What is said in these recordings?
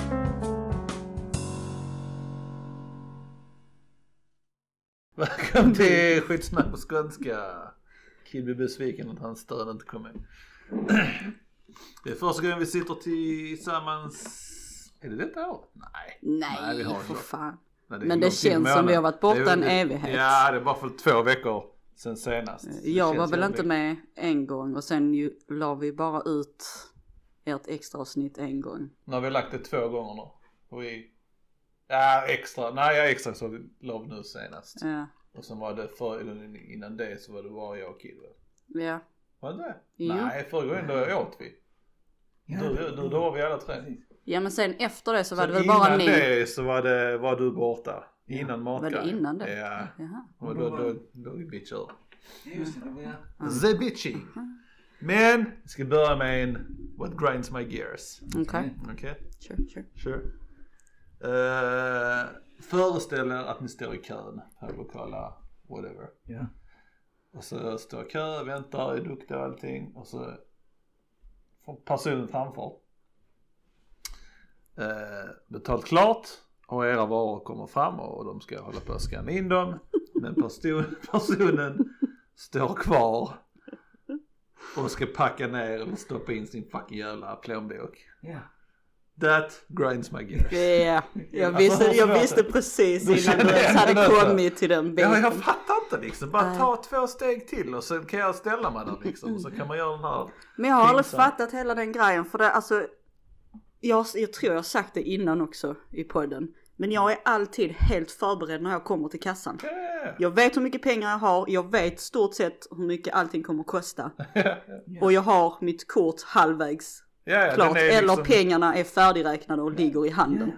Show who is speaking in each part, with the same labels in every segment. Speaker 1: Välkommen till skitsnack på skånska. Kid blir besviken att hans stöd inte kom med. Det är första gången vi sitter tillsammans. Är det detta året? Nej.
Speaker 2: Nej,
Speaker 1: Nej, vi har inte.
Speaker 2: för fan.
Speaker 1: Nej,
Speaker 2: Men
Speaker 1: är
Speaker 2: det
Speaker 1: långt in i
Speaker 2: känns som
Speaker 1: månaden.
Speaker 2: vi har varit borta
Speaker 1: Det är-
Speaker 2: en evighet.
Speaker 1: Ja, det är bara för två veckor sen senast. Det
Speaker 2: Jag var
Speaker 1: känns
Speaker 2: väl
Speaker 1: ju
Speaker 2: inte
Speaker 1: länge.
Speaker 2: med en gång och sen ju, la vi bara ut ert extra avsnitt en gång.
Speaker 1: Nu har vi lagt det två gånger nu. Och vi... Ja, extra. Nej, ja, extra så vi la nu senast.
Speaker 2: Ja,
Speaker 1: Och sen var det för, eller innan det så var det bara jag och Kid. va?
Speaker 2: ja.
Speaker 1: Var det inte det?
Speaker 2: Jo.
Speaker 1: Nej, förra gången då åt vi. Du, du, då var vi alla tre.
Speaker 2: ja men sen efter det så var
Speaker 1: Så
Speaker 2: det väl bara
Speaker 1: innan
Speaker 2: ni.
Speaker 1: det så var, det, var du borta. Innan
Speaker 2: Var
Speaker 1: matkajen.
Speaker 2: det innan det?
Speaker 1: Ja.
Speaker 2: Jaha.
Speaker 1: Och då, då, då är vi bitcher.
Speaker 3: Just det, det, var-
Speaker 1: The bitchy. Men, vi ska börja med en What grinds my gears.
Speaker 2: Okej,
Speaker 1: Okej,
Speaker 2: sure, sure.
Speaker 1: sure. Eh, föreställ er att ni står i kön på lokala whatever.
Speaker 3: ja.
Speaker 1: Och så står jag i kö, väntar, är duktig och allting och så får personen framför. Eh, betalt klart och era varor kommer fram och de ska hålla på att scanna in dem. Men person, personen står kvar och ska packa ner eller stoppa in sin fucking jävla plånbok.
Speaker 3: ja.
Speaker 1: That grinds my
Speaker 2: Ja,
Speaker 1: gears.
Speaker 2: jag,
Speaker 1: Alltså,
Speaker 2: visste,
Speaker 1: hur
Speaker 2: jag
Speaker 1: låter
Speaker 2: visste
Speaker 1: det?
Speaker 2: precis
Speaker 1: Du
Speaker 2: innan
Speaker 1: kände
Speaker 2: du ens
Speaker 1: igen
Speaker 2: hade
Speaker 1: den också?
Speaker 2: kommit till den
Speaker 1: Ja,
Speaker 2: biten.
Speaker 1: jag fattar inte liksom. Bara
Speaker 2: Nej.
Speaker 1: ta två steg till och sen kan jag ställa mig där liksom. Och så kan man göra den här
Speaker 2: Men jag har aldrig
Speaker 1: Pinsamt.
Speaker 2: fattat hela den grejen för det alltså jag, jag tror jag har sagt det innan också i podden. Men jag är alltid helt förberedd när jag kommer till kassan.
Speaker 1: Yeah.
Speaker 2: Jag vet hur mycket pengar jag har, jag vet stort sett hur mycket allting kommer att kosta. Och jag har mitt kort halvvägs
Speaker 1: Ja, ja,
Speaker 2: klart.
Speaker 1: den är
Speaker 2: Eller
Speaker 1: liksom-
Speaker 2: pengarna är färdigräknade och ligger i handen.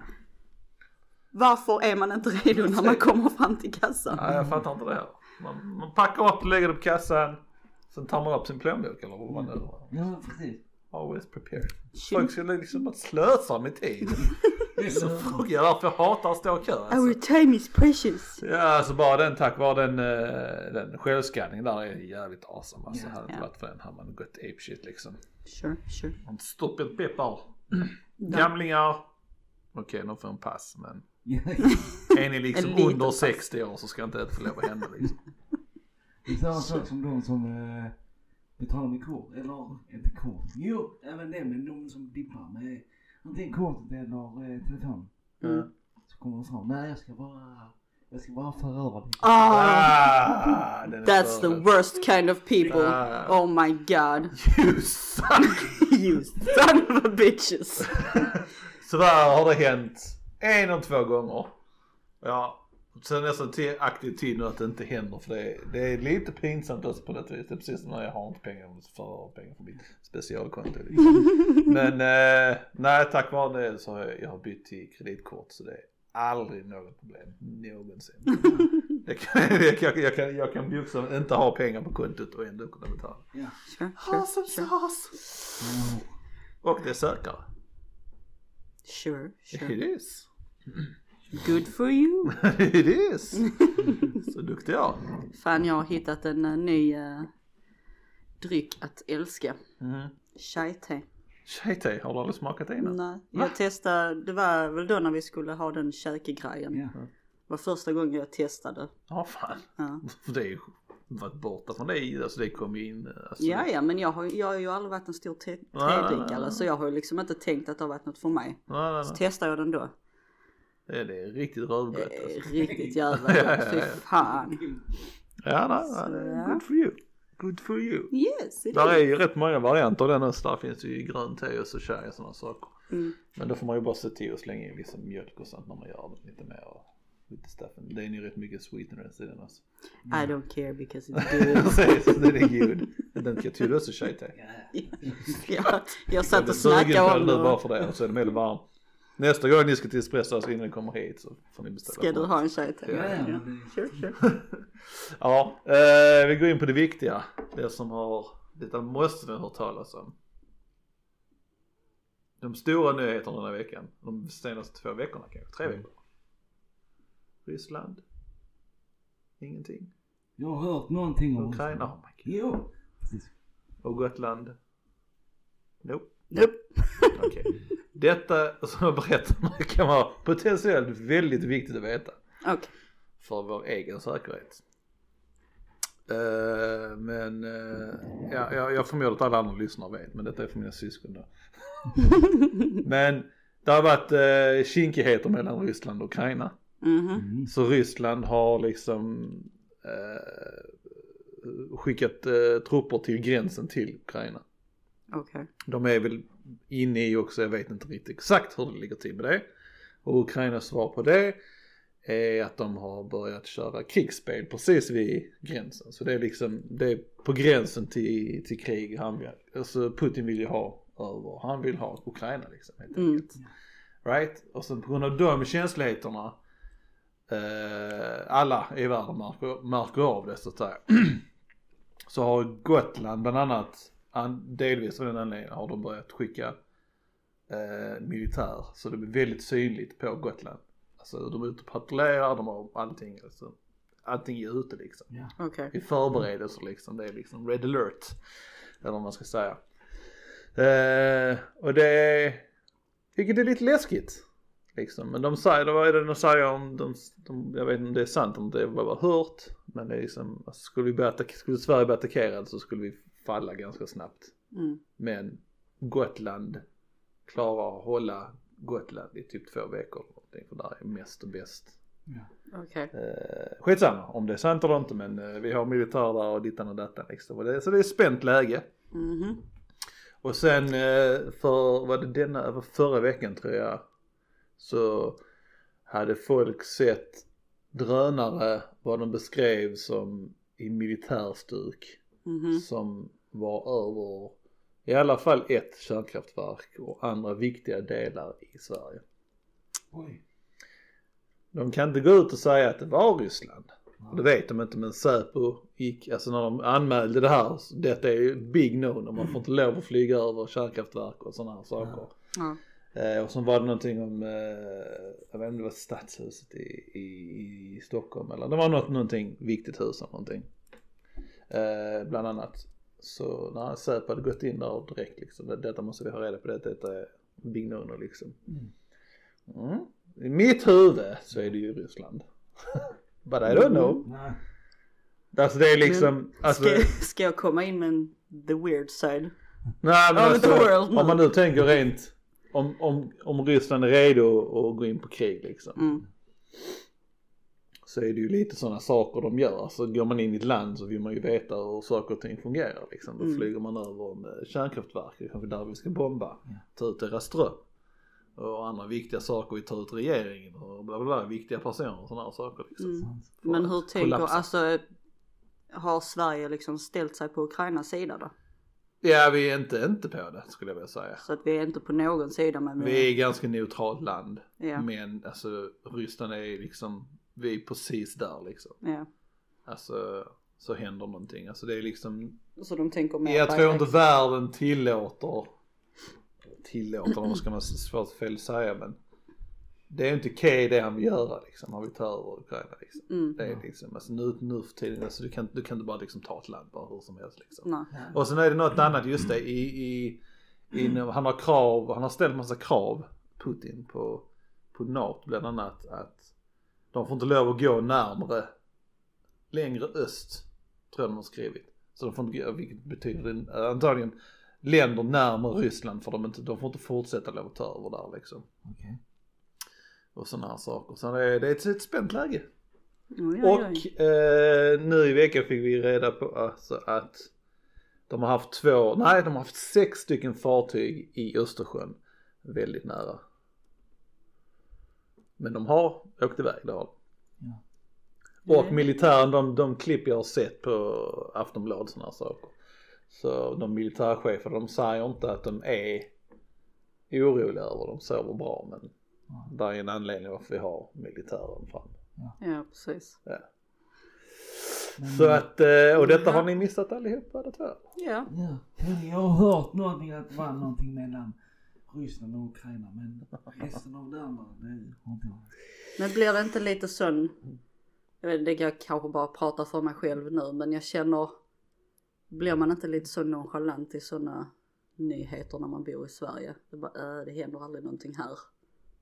Speaker 2: Varför är man inte redo när man kommer fram till kassan?
Speaker 1: Nej, jag fattar inte det heller. Man, man packar upp och lägger det på kassan. Sen tar man upp sin plånbok eller vad man nu har.
Speaker 3: ja, precis.
Speaker 1: Always prepared.
Speaker 2: Shit.
Speaker 1: Folk skulle liksom bara slösa med tid. Det är så frågar jag därför jag hatar att stå i kö. Alltså.
Speaker 2: Our time is precious.
Speaker 1: Ja, alltså bara den tack vare den, eh, den självskanningen där är jävligt awesome. Alltså hade det inte
Speaker 2: Ja.
Speaker 1: varit för den hade man gått apeshit liksom.
Speaker 2: Sure, sure.
Speaker 1: Man stoppar peppar. Gamlingar. Okej, de får en pass men
Speaker 3: Ja,
Speaker 1: är ni liksom
Speaker 2: En liten
Speaker 1: under
Speaker 2: pass.
Speaker 1: 60 år så ska inte det få lov att hända liksom.
Speaker 3: Det är samma sak som de som eh, betalar med kort. Eller inte kort. Jo, även det. Men de som dippar med antingen kortet eller eh, telefon.
Speaker 2: Mm.
Speaker 3: Så kommer de fram. Nej, jag ska bara, jag ska bara föra över det.
Speaker 2: Ah,
Speaker 1: Ah, den är
Speaker 2: that's the
Speaker 1: större.
Speaker 2: worst kind of people.
Speaker 1: Ah.
Speaker 2: Oh my god.
Speaker 1: You suck!
Speaker 2: You son of a bitches.
Speaker 1: Så där har det hänt en och två gånger. Ja, sen nästan till aktiv tid nu att det inte händer för det är, det är lite pinsamt också på det viset. Det är precis som när jag har inte pengar för pengar för mitt specialkonto. Liksom. Men eh, nej, tack vare det så har jag, jag har bytt till kreditkort så det är aldrig något problem någonsin. Jag kan, jag, kan, jag, kan, jag kan bjussa inte ha pengar på kontot och ändå kunna betala.
Speaker 3: Ja.
Speaker 2: Sure, sure,
Speaker 1: Awesome sauce! Och det är sökare.
Speaker 2: sure, sure.
Speaker 1: It is.
Speaker 2: Good for you.
Speaker 1: It is. Så duktig jag.
Speaker 2: Fan, jag har hittat en eh, ny eh, dryck att älska.
Speaker 1: Mm.
Speaker 2: Chai-te.
Speaker 1: Tjejte, har du aldrig smakat det innan?
Speaker 2: Nej, jag testade, det var väl då när vi skulle ha den käkegrejen.
Speaker 3: Ja.
Speaker 2: Det var första gången jag testade.
Speaker 1: Ja fan.
Speaker 2: Ja,
Speaker 1: För det är ju varit borta från dig, alltså det kom ju in. Alltså,
Speaker 2: ja, ja men jag har, jag har ju aldrig varit en stor te- tedrickare så jag har ju liksom inte tänkt att det har varit något för mig.
Speaker 1: Nej, nej,
Speaker 2: Så
Speaker 1: nej.
Speaker 2: testade jag den då.
Speaker 1: Det, det är riktigt rövgött
Speaker 2: Eh,
Speaker 1: alltså.
Speaker 2: Riktigt jävla gott, fy fan.
Speaker 1: Ja, nej, nej, det är good for you. Good for you.
Speaker 2: Yes, it
Speaker 1: Där är
Speaker 2: is.
Speaker 1: ju rätt många varianter av den också. Där finns ju grönt te och så chai och sådana saker.
Speaker 2: Mm.
Speaker 1: Men då får man ju bara se till att slänga in vissa mjölk och sånt när man gör det lite mer. Och lite stuff. Det är ju rätt mycket sweeteners i den alltså.
Speaker 2: I don't care because it's good.
Speaker 1: Precis, den är god. Den ska tydligen också tjejte.
Speaker 2: jag, jag satt och
Speaker 1: Sugen på
Speaker 2: snackade
Speaker 1: den
Speaker 2: om
Speaker 1: nu bara
Speaker 2: det.
Speaker 1: för det och så är den väldigt varm. Nästa gång ni ska till espresso alltså innan ni kommer hit så får ni beställa.
Speaker 2: Ska
Speaker 1: på.
Speaker 2: du ha en chai-te?
Speaker 3: Ja, ja,
Speaker 2: Ja.
Speaker 3: men det-
Speaker 2: Sure, sure.
Speaker 1: Ja, eh, vi går in på det viktiga. Det som har, detta måste ni ha hört talas om. De stora nyheterna den här veckan, de senaste två veckorna kanske, tre veckor. Ryssland. Ingenting.
Speaker 3: Jag har hört någonting om
Speaker 1: Ukraina, oh my god.
Speaker 3: Jo. Precis.
Speaker 1: Och Gotland. Nope.
Speaker 2: Nope.
Speaker 1: Okej. Detta som jag berättar nu kan vara potentiellt väldigt viktigt att veta.
Speaker 2: Okej.
Speaker 1: för vår egen säkerhet. Eh, men eh, ja, jag, jag förmodar att alla andra lyssnare vet, men detta är för mina syskon då. men det har varit eh, kinkigheter mellan Ryssland och Ukraina.
Speaker 2: Mhm.
Speaker 1: Så Ryssland har liksom eh, skickat eh, trupper till gränsen till Ukraina.
Speaker 2: Okej.
Speaker 1: De är väl inne i också, jag vet inte riktigt exakt hur det ligger till med det. Och Ukrainas svar på det är att de har börjat köra krigsspel precis vid gränsen. Så det är liksom, det är på gränsen till, till krig han vill, alltså Putin vill ju ha över, han vill ha Ukraina liksom helt
Speaker 2: Mm.
Speaker 1: enkelt. Right? Och sen på grund av de känsligheterna eh, alla i världen märker, märker av det så att säga. så har Gotland bland annat, an, delvis av den anledningen, har de börjat skicka eh, militär. Så det blir väldigt synligt på Gotland. Alltså de är ute och patrullerar, de har allting, alltså, allting är ute liksom.
Speaker 2: Okej.
Speaker 1: I förberedelser liksom, det är liksom red alert. Eller vad man ska säga. Eh, och det är, vilket är lite läskigt. Liksom. Men de säger, vad är det de säger om, de, de, jag vet inte om det är sant om det är vad jag har hört. Men det är liksom, alltså, skulle, vi bli attack- skulle Sverige bli attackerad så skulle vi falla ganska snabbt.
Speaker 2: Mm.
Speaker 1: Men Gotland klarar att hålla Gotland i typ två veckor. eller någonting, För där är mest och bäst
Speaker 2: Okej.
Speaker 1: Eh, skitsamma om det är sant eller inte men eh, vi har militär där och dittan och dattan liksom. Och det, så det är spänt läge.
Speaker 2: Mhm.
Speaker 1: Och sen eh, för, var det denna, var förra veckan tror jag, så hade folk sett drönare, vad de beskrev som i militärstyrk,
Speaker 2: Mhm.
Speaker 1: som var över i alla fall ett kärnkraftverk och andra viktiga delar i Sverige.
Speaker 3: Oj.
Speaker 1: De kan inte gå ut och säga att det var Ryssland. Det vet de inte men Säpo gick, alltså när de anmälde det här, så detta är ju big no man får inte lov att flyga över kärnkraftverk och sådana här saker.
Speaker 2: Ja.
Speaker 1: Eh, och sen var det någonting om, eh, jag vet inte om det var stadshuset i, i, i Stockholm eller det var något, någonting viktigt hus eller någonting. Eh, bland annat. Så när Säpo hade gått in där och direkt liksom, det- detta måste vi ha reda på, detta, detta är big no liksom. Mm. I mitt huvud så är det ju Ryssland. But I don't know.
Speaker 3: Nej.
Speaker 1: Alltså det är liksom, alltså,
Speaker 2: Ska, ska jag komma in med en the weird side?
Speaker 1: nej, men
Speaker 2: Ja,
Speaker 1: alltså,
Speaker 2: the world
Speaker 1: om man
Speaker 2: now.
Speaker 1: nu tänker rent om, om, om Ryssland är redo att gå in på krig liksom.
Speaker 2: Mm.
Speaker 1: så är det ju lite sådana saker de gör. Alltså går man in i ett land så vill man ju veta hur saker och ting fungerar liksom. Då
Speaker 2: Mm.
Speaker 1: flyger man över en eh, kärnkraftverk, det är kanske där vi ska bomba, ta ut deras ström. Och andra viktiga saker är att ta ut regeringen och bla bla bla, viktiga personer och sådana saker liksom.
Speaker 2: Mm.
Speaker 3: sant.
Speaker 1: För
Speaker 2: Men
Speaker 1: att
Speaker 2: hur tänker,
Speaker 1: kollapsa.
Speaker 2: alltså har Sverige liksom ställt sig på Ukrainas sida då?
Speaker 1: Ja vi är inte, inte på det skulle jag vilja säga.
Speaker 2: Så att vi är inte på någon sida men
Speaker 1: Vi är ett ganska neutralt land.
Speaker 2: ja,
Speaker 1: Men alltså Ryssland är liksom, vi är precis där liksom.
Speaker 2: ja.
Speaker 1: Alltså så händer någonting. Alltså det är liksom
Speaker 2: Så de tänker mer
Speaker 1: jag
Speaker 2: på-
Speaker 1: tror inte världen tillåter tillåter, vad ska man svårt fel säga men det är ju inte okej det han vill göra liksom, han vill ta över Ukraina liksom.
Speaker 2: Mm.
Speaker 1: Det är liksom, alltså nu, nu för tiden, alltså, du, kan, du kan inte bara liksom ta ett land bara hur som helst liksom.
Speaker 2: Nej.
Speaker 1: Och sen är det något annat, just det, i, i, inom, han har krav, han har ställt massa krav, Putin, på, på NATO bland annat att de får inte lov att gå närmre, längre öst, tror jag de har skrivit. Så de får inte gå, vilket betyder det, antagligen länder närmare Ryssland för de, inte, de får inte fortsätta lov att ta över där liksom.
Speaker 3: Okej.
Speaker 1: Och sådana här saker. Så det är, det är ett, ett spänt läge.
Speaker 2: Oj, oj, oj.
Speaker 1: Och eh, nu i veckan fick vi reda på alltså att de har haft två, nej de har haft sex stycken fartyg i Östersjön väldigt nära. Men de har åkt iväg, det har de.
Speaker 3: Ja.
Speaker 2: Eh.
Speaker 1: Och militären, de, de klipp jag har sett på Aftonbladet sådana saker. Så de militärchefer, de säger inte att de är oroliga över, de sover bra men
Speaker 3: Ja.
Speaker 1: där är en anledning varför vi har militären fram.
Speaker 2: Ja precis.
Speaker 1: Så att, eh, och detta har ni missat allihopa det tror jag.
Speaker 2: Ja.
Speaker 3: Ja. Jag har hört någonting att det var någonting mellan Ryssland och Ukraina men resten av det andra det har inte jag.
Speaker 2: Men blir det inte lite sån, jag vet inte, jag kanske bara pratar för mig själv nu men jag känner, blir man inte lite så nonchalant i sådana nyheter när man bor i Sverige? Det, bara, äh, det händer aldrig någonting här.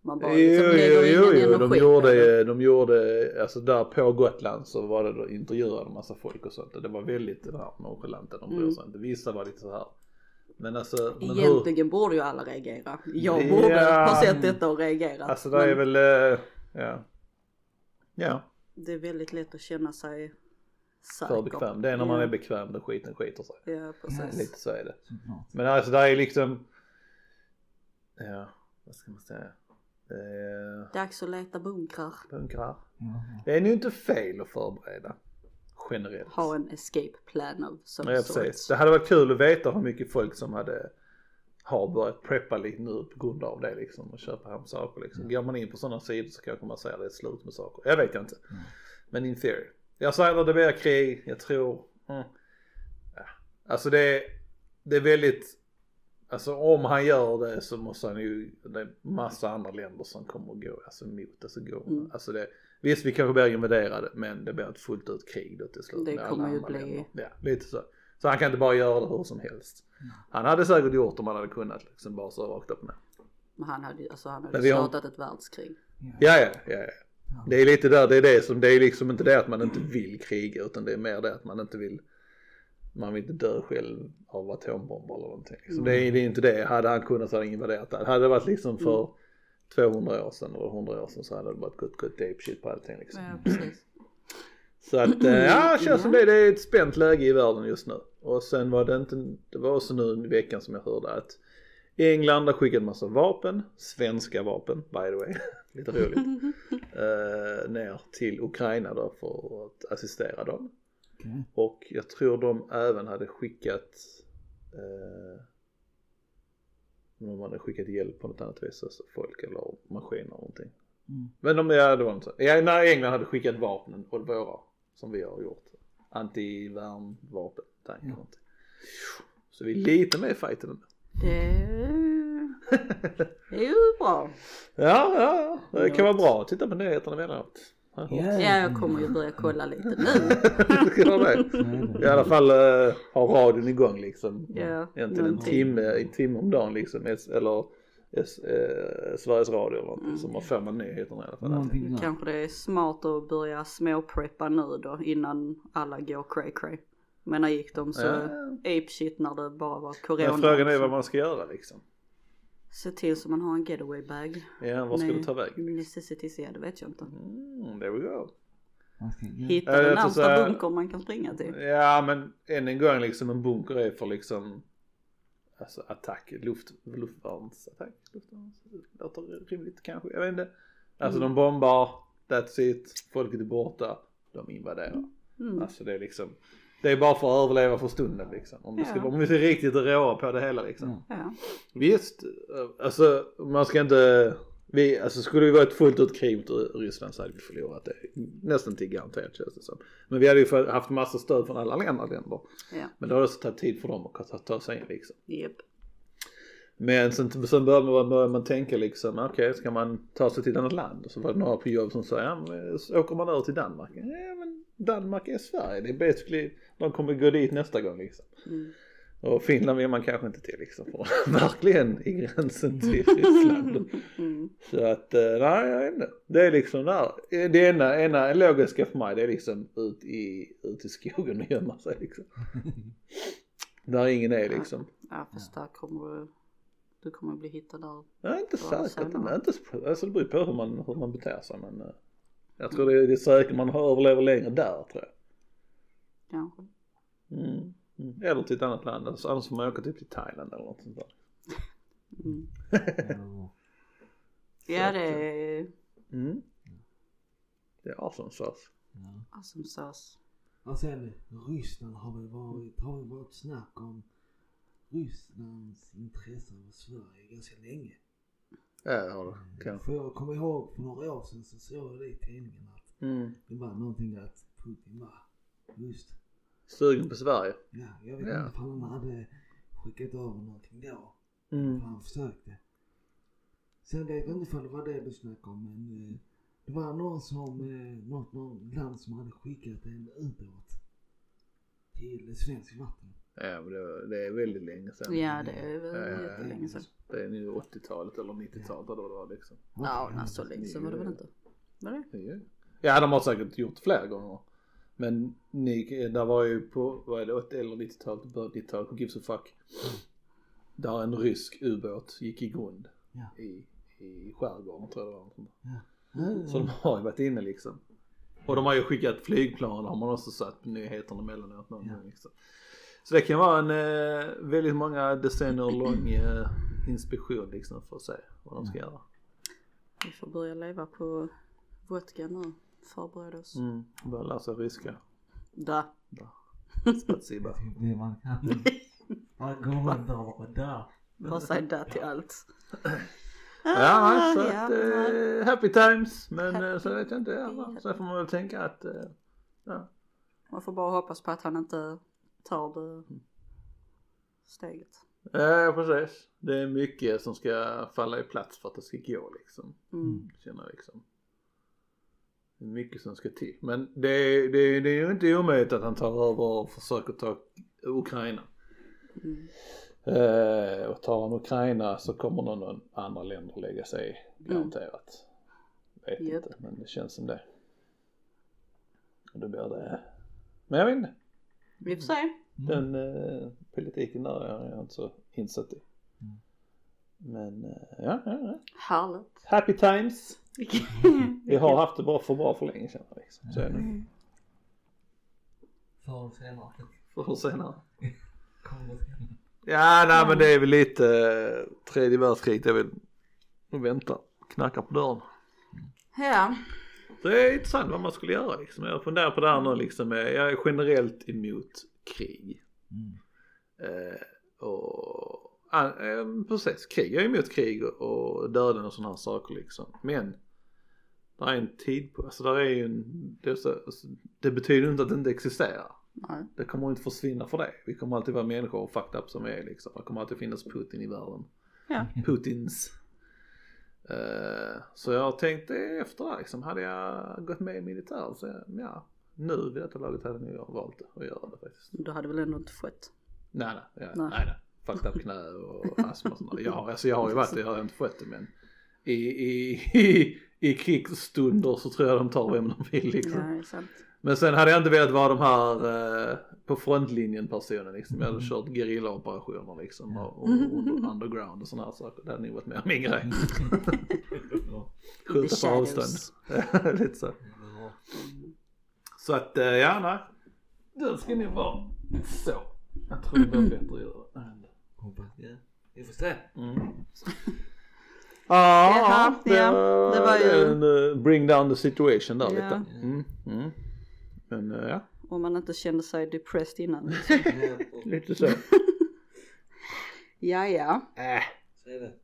Speaker 2: Man
Speaker 1: Jo,
Speaker 2: bara liksom
Speaker 1: jo,
Speaker 2: lägger
Speaker 1: jo,
Speaker 2: ingen
Speaker 1: jo.
Speaker 2: energi
Speaker 1: De
Speaker 2: på det.
Speaker 1: gjorde, de gjorde, alltså där på Gotland så var det då intervjuade en massa folk och sånt och det var väldigt det här nonchalanta, de
Speaker 2: Mm.
Speaker 1: bryr sig inte. Vissa var lite så här. Men alltså, men hur,
Speaker 2: Egentligen borde ju alla reagera. Jag borde
Speaker 1: Ja.
Speaker 2: ha sett detta och reagerat.
Speaker 1: alltså där är
Speaker 2: men
Speaker 1: väl, eh, ja. Ja,
Speaker 2: det är väldigt lätt att känna sig säker.
Speaker 1: för bekväm. Det är när man
Speaker 2: Ja.
Speaker 1: är bekväm då skiten skiter sig.
Speaker 2: Ja, precis.
Speaker 1: Lite så är det.
Speaker 3: Såklart.
Speaker 1: Men alltså där är liksom, ja, vad ska man säga? Det är
Speaker 2: Dags att leta bunkrar.
Speaker 1: bunkrar.
Speaker 3: Ja.
Speaker 1: Det är ju inte fel att förbereda. Generellt.
Speaker 2: Ha en escape plan av some
Speaker 1: Ja,
Speaker 2: sort.
Speaker 1: precis. Det hade varit kul att veta hur mycket folk som hade har börjat preppa lite nu på grund av det liksom och köpa hem saker liksom. Går man in på sådana sidor så kanske man säger att det är slut med saker. Jag vet jag inte.
Speaker 3: Mm.
Speaker 1: Men in theory. Jag säger att det blir krig, jag tror. Mm. Ja. Alltså det är, det är väldigt, alltså om han gör det så måste han ju, det är massa andra länder som kommer att gå alltså, emot, alltså, gå.
Speaker 2: Mm.
Speaker 1: Alltså det, visst vi kanske blir invaderade men det blir ett fullt ut krig då till slut.
Speaker 2: Det
Speaker 1: med alla
Speaker 2: kommer ju
Speaker 1: andra
Speaker 2: bli-
Speaker 1: länder. Ja, lite så. Så han kan inte bara göra det hur som helst.
Speaker 2: Mm.
Speaker 1: Han hade säkert gjort om han hade kunnat liksom bara så rakt upp med.
Speaker 2: Men han hade ju alltså, han hade
Speaker 1: Men vi har-
Speaker 2: startat ett världskrig.
Speaker 1: Ja, ja, ja, ja. Det är lite där, det är det som, det är liksom inte det att man inte vill kriga utan det är mer det att man inte vill, man vill inte dö själv av atombomber eller någonting. Liksom. Det, är, det är inte det, hade han kunnat så hade han invaderat det. Hade det varit liksom för 200 år sedan eller 100 år sedan så hade det varit gått gått ape shit på allting liksom.
Speaker 2: Ja, precis.
Speaker 1: Så att, eh, ja, det känns som det. Det är ett spänt läge i världen just nu. Och sen var det inte, det var också nu i veckan som jag hörde att England har skickat massa vapen, svenska vapen by the way, lite roligt, eh, ner till Ukraina då för att assistera dem.
Speaker 3: Okej.
Speaker 1: Och jag tror de även hade skickat eh, de hade skickat hjälp på något annat vis, alltså folk eller maskiner och någonting.
Speaker 3: Mm.
Speaker 1: Men de, ja, det var inte så. Ja, när England hade skickat vapnen och våra som vi har gjort. Antivärnvapen, tankar
Speaker 3: Ja.
Speaker 1: och någonting. Så vi är lite med i fighten ändå.
Speaker 2: Det det är ju bra.
Speaker 1: Ja, ja, ja, det kan vara bra att titta på nyheterna emellanåt. Ja,
Speaker 3: Ja,
Speaker 2: Ja, jag kommer ju börja kolla lite nu.
Speaker 1: det kan vara det. I alla fall eh, ha radion igång liksom.
Speaker 2: Ja,
Speaker 1: Egentligen en
Speaker 2: någonting.
Speaker 1: timme, en timme om dagen liksom. S, eller S, eh, Sveriges Radio eller någonting. Så man får man nyheterna i alla fall.
Speaker 3: Någonting sånt.
Speaker 2: Kanske det är smart att börja småpreppa nu då innan alla går cray cray. Men när gick de så
Speaker 1: Ja.
Speaker 2: ape shit när det bara var corona.
Speaker 1: Men frågan är
Speaker 2: Så
Speaker 1: vad man ska göra liksom.
Speaker 2: Se till så man har en getaway bag.
Speaker 1: Ja, vad ska
Speaker 2: Nej.
Speaker 1: du ta vägen?
Speaker 2: Necessities, ja det vet jag inte.
Speaker 1: Mm, there we go.
Speaker 3: Man ska-
Speaker 2: Hitta
Speaker 1: Ja, jag
Speaker 2: den
Speaker 1: tror så här-
Speaker 2: närmsta bunkern man kan springa till.
Speaker 1: Ja men än en gång liksom en bunker är för liksom Alltså attack, luft, luftvärnsattack, luftvärns, låter rimligt kanske, jag vet inte. Alltså de bombar, that's it, folket är borta, de invaderar.
Speaker 2: Mm.
Speaker 1: Alltså det är liksom, det är bara för att överleva för stunden liksom. Om, det ska,
Speaker 2: Ja.
Speaker 1: om vi ser riktigt råa på det hela liksom.
Speaker 3: Ja.
Speaker 2: Ja.
Speaker 1: Visst, eh, alltså man ska inte, vi, alltså skulle vi vara ett fullt ut krig mot Ryssland så hade vi förlorat det nästan till garanterat känns det som. Men vi hade ju för- haft massa stöd från alla andra länder.
Speaker 2: Ja.
Speaker 1: Men det har också tagit tid för dem att ta, ta sig in liksom.
Speaker 2: Japp.
Speaker 1: Men sen, sen börjar man, börjar man tänka liksom, okej ska man ta sig till ett annat land? Så var det några på jobb som sa, ja, men, så åker man över till Danmark? Ja men Danmark är Sverige, det är basically, de kommer gå dit nästa gång liksom.
Speaker 2: Mm.
Speaker 1: Och Finland vill man kanske inte till liksom, för verkligen i gränsen till Ryssland.
Speaker 2: Mm.
Speaker 1: Så att, eh, nej jag vet inte. Det är liksom där, eh, det ena, ena logiska för mig det är liksom ut i, ut i skogen och gömma sig liksom. Där ingen är liksom.
Speaker 2: Ja fast där kommer du, du kommer bli hittad där.
Speaker 1: Nej inte
Speaker 2: Ja,
Speaker 1: säkert,
Speaker 2: samma.
Speaker 1: nej, inte, så- alltså det beror ju på hur man, hur man beter sig men eh, jag tror det är, det är säkert man överlever längre där tror jag.
Speaker 2: Kanske.
Speaker 1: Mm. Mm. Eller till ett annat land, alltså, annars får man åka typ till Thailand eller något sånt där.
Speaker 2: Mm.
Speaker 3: Eller-
Speaker 2: Ja det är
Speaker 1: Mm. Det är asansas.
Speaker 3: Ja.
Speaker 2: awesome sauce.
Speaker 3: Och sen Ryssland har väl varit, har väl varit snack om Rysslands intresse av Sverige ganska länge.
Speaker 1: Ja det har du kanske.
Speaker 3: För jag kommer ihåg för några år sedan så såg jag det i tidningen att
Speaker 1: Mm.
Speaker 3: det var någonting att Putin var just,
Speaker 1: Sugen på Sverige.
Speaker 3: ja jag vet
Speaker 1: Ja.
Speaker 3: inte om han hade skickat över någonting då.
Speaker 1: Mm.
Speaker 3: För han försökte. Sen vet jag inte om det var det du snackade om men eh, det var någon som, eh, något, något land som hade skickat en ubåt till svenskt vatten.
Speaker 1: Ja, men det, det är väldigt länge sedan.
Speaker 2: Ja, det är
Speaker 1: Eh,
Speaker 2: väl jättelänge sedan.
Speaker 1: Det är nu 80-talet eller 90-talet eller vad det var liksom.
Speaker 2: Ja, nej, så länge sedan var det väl inte. Var det?
Speaker 1: Det är ju- Ja, de har säkert gjort fler gånger. Men ni, där var ju på, vad är det, 80 eller 90-talet, början av 90-talet, who gives a fuck. Där en rysk ubåt gick i grund
Speaker 3: Ja.
Speaker 1: i, i skärgården tror jag det var. något sånt där.
Speaker 3: Mm.
Speaker 1: Så de har ju varit inne liksom. Och de har ju skickat flygplan har man också sett på nyheterna emellanåt någon
Speaker 3: Ja.
Speaker 1: gång liksom. Så det kan vara en eh, väldigt många decennier lång eh, inspektion liksom för att se vad de ska göra.
Speaker 2: Vi får börja leva på vodka nu. Förbereda oss.
Speaker 1: Mm, börja lära sig ryska.
Speaker 2: Da.
Speaker 1: Spatsiba.
Speaker 3: Typ det man kan. Man går runt där och bara där.
Speaker 2: Bara säg da till allt.
Speaker 1: Ja, nej, så
Speaker 2: Ah,
Speaker 1: att,
Speaker 2: ja, nej.
Speaker 1: eh, happy times. Men
Speaker 2: Happy
Speaker 1: eh, så vet jag inte. Ja, va.
Speaker 2: times.
Speaker 1: Sen får man väl tänka att eh, ja,
Speaker 2: Man får bara hoppas på att han inte tar det steget.
Speaker 1: eh, precis. Det är mycket som ska falla i plats för att det ska gå liksom.
Speaker 2: Mm.
Speaker 1: Känner jag liksom. Det är mycket som ska till. Men det är, det är, det är ju inte omöjligt att han tar över och försöker ta Ukraina.
Speaker 2: Mm.
Speaker 1: Eh, och tar han Ukraina så kommer någon andra länder lägga sig i, garanterat. Vet
Speaker 2: Japp.
Speaker 1: inte men det känns som det. Och då blir det, men jag vet inte.
Speaker 2: Vi får se.
Speaker 1: Den eh, politiken där är jag inte så insatt i.
Speaker 3: Mm.
Speaker 1: Men eh, ja, ja, ja.
Speaker 2: Härligt.
Speaker 1: Happy times! Vi har haft det bra för bra för länge sedan liksom. Så är det.
Speaker 3: Förr eller senare.
Speaker 1: Förr eller senare.
Speaker 3: Kommer det senare.
Speaker 1: Ja, nej men det är väl lite eh, tredje världskriget. Jag vill vänta, knacka på dörren.
Speaker 2: Ja.
Speaker 1: Det är intressant vad man skulle göra liksom. Jag funderar på det här nu liksom. Jag är generellt emot krig.
Speaker 3: Mm.
Speaker 1: Eh, och, ah, eh, precis, krig. Jag är emot krig och döden och sådana här saker liksom. Men det är en tid på, alltså där är ju en, det, är så, alltså, det betyder inte att det inte existerar.
Speaker 2: Nej.
Speaker 1: Det kommer inte försvinna för det. Vi kommer alltid vara människor och fucked up som vi är liksom. Det kommer alltid finnas Putin i världen.
Speaker 2: Ja.
Speaker 1: Putins. Eh, så jag tänkte efter där liksom, hade jag gått med i militären så jag- ja, nu vid detta laget hade nog jag valt att göra det faktiskt.
Speaker 2: Du hade väl ändå inte fått.
Speaker 1: Nej nej, jag,
Speaker 2: Nej.
Speaker 1: nej. nej, Fucked up knä och astma och sånt där. Jag, har- alltså, jag har ju varit det, jag har inte skött det men i, i, i, i krigsstunder så tror jag de tar vem de vill liksom.
Speaker 2: Ja, det är sant.
Speaker 1: Men sen hade jag inte velat vara de här eh, på frontlinjen personen liksom. Jag hade kört gerillaoperationer liksom och, och under, underground och sådana här saker. Det hade nog varit mer min grej. Skjuta på
Speaker 2: shadows.
Speaker 1: avstånd. Lite så. Så att eh, ja, nej. Du ska nog vara så. Jag tror det
Speaker 2: Mm.
Speaker 1: blir bättre att göra det.
Speaker 3: Hoppas det. Vi får se.
Speaker 1: Mm. Ah,
Speaker 2: Jaha,
Speaker 1: det,
Speaker 2: ja,
Speaker 1: var,
Speaker 2: det var ju-
Speaker 1: en, eh, bring down the situation där
Speaker 2: Ja.
Speaker 1: lite. Mm, mm. Men eh, ja,
Speaker 2: Om man inte kände sig depressed innan.
Speaker 1: lite så.
Speaker 2: Ja, ja.
Speaker 1: Äh.
Speaker 3: Säg det.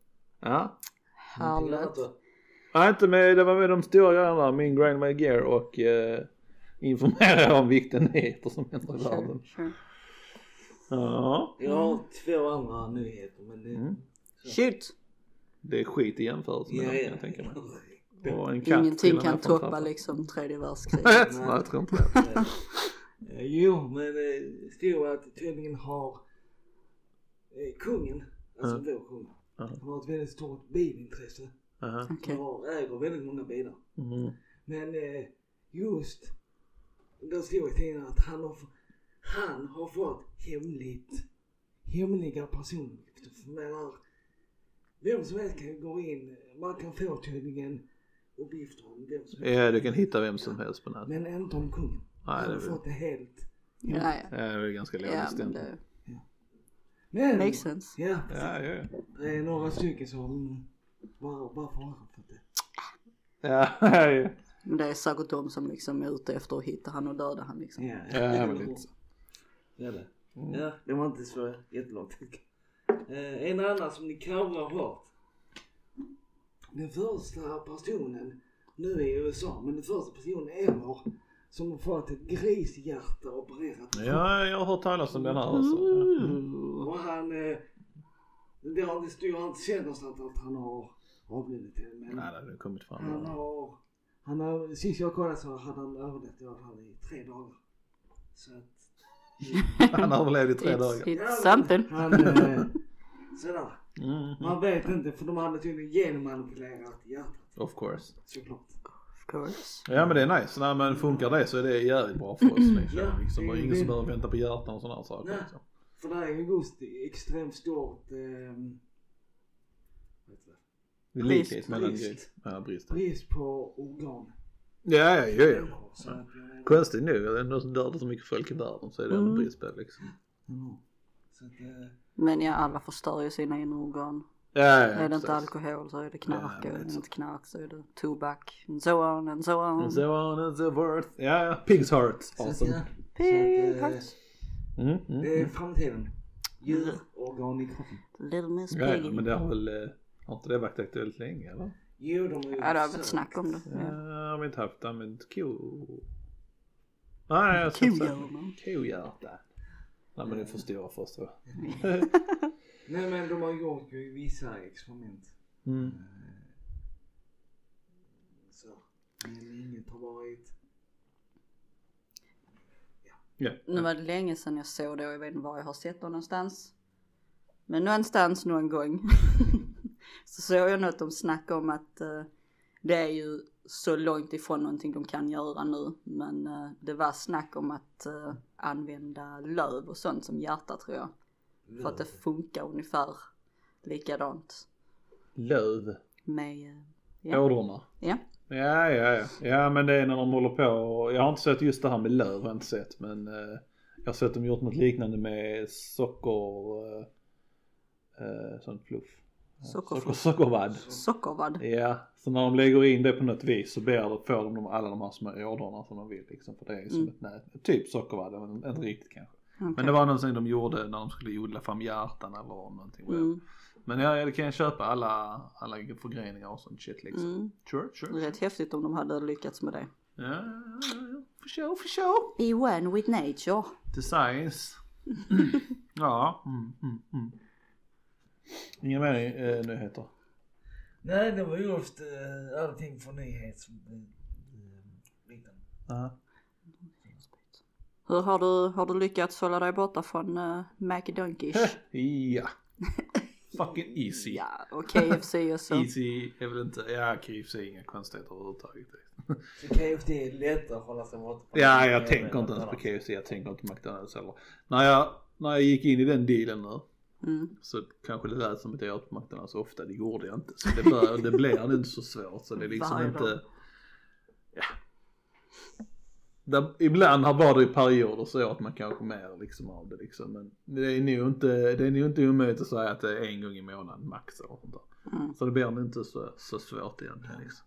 Speaker 1: Ja.
Speaker 2: Härligt.
Speaker 1: Nej inte med, det var med de stora grejerna, min grind my gear och eh, informera om vikten nyheter som händer i
Speaker 2: Sure,
Speaker 1: världen.
Speaker 2: sure.
Speaker 1: Ja,
Speaker 3: Jag har två andra nyheter men det...
Speaker 1: Mm.
Speaker 2: Shoot.
Speaker 1: det är skit i jämförelse med
Speaker 3: Ja,
Speaker 1: dem kan
Speaker 3: ja.
Speaker 1: jag tänka mig. Och en katt till
Speaker 2: Ingenting
Speaker 1: och med från
Speaker 2: kan toppa
Speaker 1: trappan.
Speaker 2: liksom tredje världskriget.
Speaker 1: Nej, jag tror inte det.
Speaker 3: Eh, Jo, men det stod att tydligen har eh, kungen, alltså
Speaker 1: Ja.
Speaker 3: vår kung,
Speaker 1: Ja.
Speaker 3: han har ett väldigt stort bilintresse.
Speaker 1: Aha.
Speaker 2: Okej.
Speaker 3: Han har, äger väldigt många bilar.
Speaker 1: Mm.
Speaker 3: Men eh, just, då stod i tidningen att han har, f- han har fått hemligt, hemliga personuppgifter. För jag menar, vem som helst kan gå in, man kan få tydligen uppgifter om vem som helst.
Speaker 1: Ja, Eh, du kan hitta vem som helst på nätet.
Speaker 3: Men inte om kungen.
Speaker 1: Nej,
Speaker 3: han
Speaker 1: det
Speaker 3: har
Speaker 1: är väl-
Speaker 3: fått det helt.
Speaker 2: Ja, ja.
Speaker 1: Ja, det är ganska
Speaker 2: Mm. Ja,
Speaker 1: logiskt
Speaker 2: men
Speaker 1: egentligen.
Speaker 2: det
Speaker 3: Men,
Speaker 2: makes sense.
Speaker 3: ja,
Speaker 1: Ja, ja, ja.
Speaker 3: det är några stycken som, var, varför har han fått det?
Speaker 1: Ja, ja, ja.
Speaker 2: Men det är säkert de som liksom är ute efter att hitta han och döda han liksom.
Speaker 3: Ja,
Speaker 1: Ja, men lite så.
Speaker 3: Ja, det.
Speaker 1: Mm.
Speaker 3: Ja, det var inte så jättelångt. Eh, en annan som ni kanske har hört. Den första personen nu i USA, men den första personen ever som har fått ett grishjärta opererat.
Speaker 1: Ja, jag har hört talas om den här alltså. Ja.
Speaker 3: Och han, eh, det har inte stod, han känner någonstans att han har avlidit än, men
Speaker 1: Nej, det har ju kommit fram.
Speaker 3: han
Speaker 2: Mm.
Speaker 3: har, han har, sist jag kollade så hade han överlevt i alla fall i tre dagar. Så att eh,
Speaker 1: Han överlevde i tre
Speaker 2: It's,
Speaker 1: dagar.
Speaker 3: Ja,
Speaker 2: it's something.
Speaker 3: Han, eh, sådär.
Speaker 1: Mm.
Speaker 3: Man vet inte för de hade tydligen genmanipulerat hjärtat
Speaker 1: Of course.
Speaker 3: såklart.
Speaker 2: Of course.
Speaker 1: Ja men det är nice. Nej men funkar det så är det jävligt bra för oss.
Speaker 2: Mm.
Speaker 1: Liksom.
Speaker 3: Ja,
Speaker 1: Liksom. Och
Speaker 3: det är
Speaker 1: ingen som
Speaker 3: det.
Speaker 1: behöver vänta på hjärtan och sådana här saker.
Speaker 3: Nej.
Speaker 1: Liksom.
Speaker 3: För där är ju just extremt stort ehm, vet du,
Speaker 1: Det är likhet mellan
Speaker 3: Brist.
Speaker 1: grejer. Ja, brist.
Speaker 3: brist på organ.
Speaker 1: Ja, ja, ja, ja.
Speaker 3: Så att eh, jag menar-
Speaker 1: Konstigt nog, det är ändå som dör det så mycket folk i världen så är det ändå
Speaker 2: Mm.
Speaker 1: brist på det, liksom.
Speaker 3: Mm. Så att, eh,
Speaker 2: Men ja, alla förstör ju sina inre organ.
Speaker 1: Ja, ja, ja,
Speaker 2: är det
Speaker 1: precis.
Speaker 2: inte alkohol så är det knark.
Speaker 1: Ja,
Speaker 2: och är
Speaker 1: lite
Speaker 2: det
Speaker 1: så.
Speaker 2: inte knark så är det tobak. And so on and so on.
Speaker 1: And so on and so forth. Ja, ja. Pig's heart.
Speaker 3: så att,
Speaker 1: Awesome.
Speaker 3: ja,
Speaker 2: Pig
Speaker 3: Så att, eh,
Speaker 2: hearts.
Speaker 1: Mm, mm,
Speaker 3: det är
Speaker 1: mm.
Speaker 3: framtiden. Djurorgan i kroppen.
Speaker 2: Little Miss
Speaker 1: eh, Ja,
Speaker 2: Piggy.
Speaker 1: ja, men det har väl... eh, Har inte det varit aktuellt länge eller?
Speaker 3: Jo, de är ju
Speaker 2: Ja, det har varit
Speaker 3: försökt.
Speaker 2: snack om det.
Speaker 1: Ja,
Speaker 2: Ja.
Speaker 1: har vi inte haft använt ko... Nej, jag ska inte säga.
Speaker 2: Kohjärnan.
Speaker 1: Kohjärta. Nej men det förstår jag först. va?
Speaker 3: Nej men de har gjort ju vissa experiment. Eh,
Speaker 1: Mm.
Speaker 3: Så. Men inget har varit.
Speaker 1: Ja.
Speaker 2: Nu var det länge sedan jag såg det och jag vet inte var jag har sett det någonstans. Men någonstans någon gång så såg jag något de snackade om att eh, det är ju så långt ifrån någonting de kan göra nu. Men eh, det var snack om att eh, använda löv och sånt som hjärta tror jag. För att det funkar ungefär likadant
Speaker 1: Löv.
Speaker 2: med, eh, Ja.
Speaker 1: Ådrorna.
Speaker 2: ja.
Speaker 1: Ja, ja, ja. Ja, men det är när de håller på och, Jag har inte sett just det här med löv, har jag inte sett. Men eh, jag har sett dem gjort något liknande med socker... Eh, eh, sånt fluff.
Speaker 2: Sockerfluff.
Speaker 1: Socker, sockervadd.
Speaker 2: Sockervadd.
Speaker 1: Ja, så när de lägger in det på något vis så blir det, får de de- alla de här små ådrorna som de vill liksom. För det är ju som
Speaker 2: Mm.
Speaker 1: ett nät. Typ sockervadd, men inte riktigt kanske. Men
Speaker 2: Okej.
Speaker 1: det var någonting de gjorde när de skulle odla fram hjärtan eller någonting.
Speaker 2: Mm,
Speaker 1: Men ja, det kan jag köpa alla, alla förgreningar och sånt shit liksom.
Speaker 2: mm.
Speaker 1: Sure, sure.
Speaker 2: Rätt häftigt om de hade lyckats med det.
Speaker 1: Ja, ja, ja. for sure, for sure.
Speaker 2: Be one with nature.
Speaker 1: The science. ja. Mm, mm, mm. Inga mer eh, nyheter.
Speaker 3: Nej, det var ju ofta eh, allting från eh, nyhetsbiten.
Speaker 1: Aha.
Speaker 2: Hur har du, har du lyckats hålla dig borta från uh, McDonkish?
Speaker 1: ja. Fucking easy.
Speaker 2: ja, och KFC och så.
Speaker 1: Easy är väl inte, ja KFC är inga konstigheter överhuvudtaget.
Speaker 3: Så KFD är lättare att hålla sig borta från.
Speaker 1: Ja, jag tänker inte ens på KFC, jag tänker inte på McDonalds heller. När jag, när jag gick in i den dealen nu
Speaker 2: Mm.
Speaker 1: så kanske det lät som att jag åt på McDonalds ofta, det gjorde jag inte. Så det, bör, det blir inte så svårt så det är liksom
Speaker 2: Varje dag.
Speaker 1: inte, ja. Där, ibland har var det ju perioder så åt man kanske mer liksom av det liksom. Men det är nog inte, det är nog inte omöjligt att säga att det är en gång i månaden max eller sånt där.
Speaker 2: Mm.
Speaker 1: Så det blir inte så, så svårt egentligen. Liksom.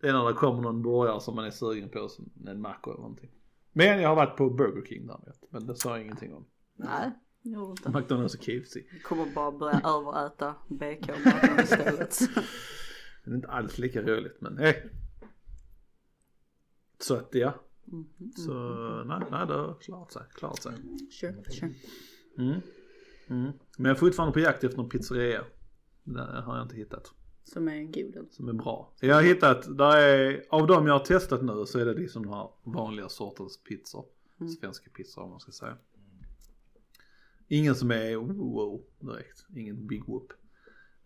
Speaker 1: Det är när det kommer någon burgare som man är sugen på, som en macka eller någonting. Men jag har varit på Burger King däremot, men det sa jag ingenting om.
Speaker 2: Nej, det gjorde inte.
Speaker 1: McDonalds och KFC.
Speaker 2: Jag kommer bara börja överäta BK maten istället.
Speaker 1: Det är inte alls lika roligt men hej. Så att ja,
Speaker 2: Mm.
Speaker 1: så nej, nej det har klart sig, klart sig.
Speaker 2: Sure, sure.
Speaker 1: Mm. Mm. Men jag är fortfarande på jakt efter en pizzeria. Det har jag inte hittat.
Speaker 2: Som är en god alltså.
Speaker 1: Som är bra. Jag har hittat, där är, av de jag har testat nu så är det liksom den här vanliga sortens pizzor.
Speaker 2: Mm.
Speaker 1: Svenska pizzor om man ska säga. Ingen som är wow direkt, ingen big whoop.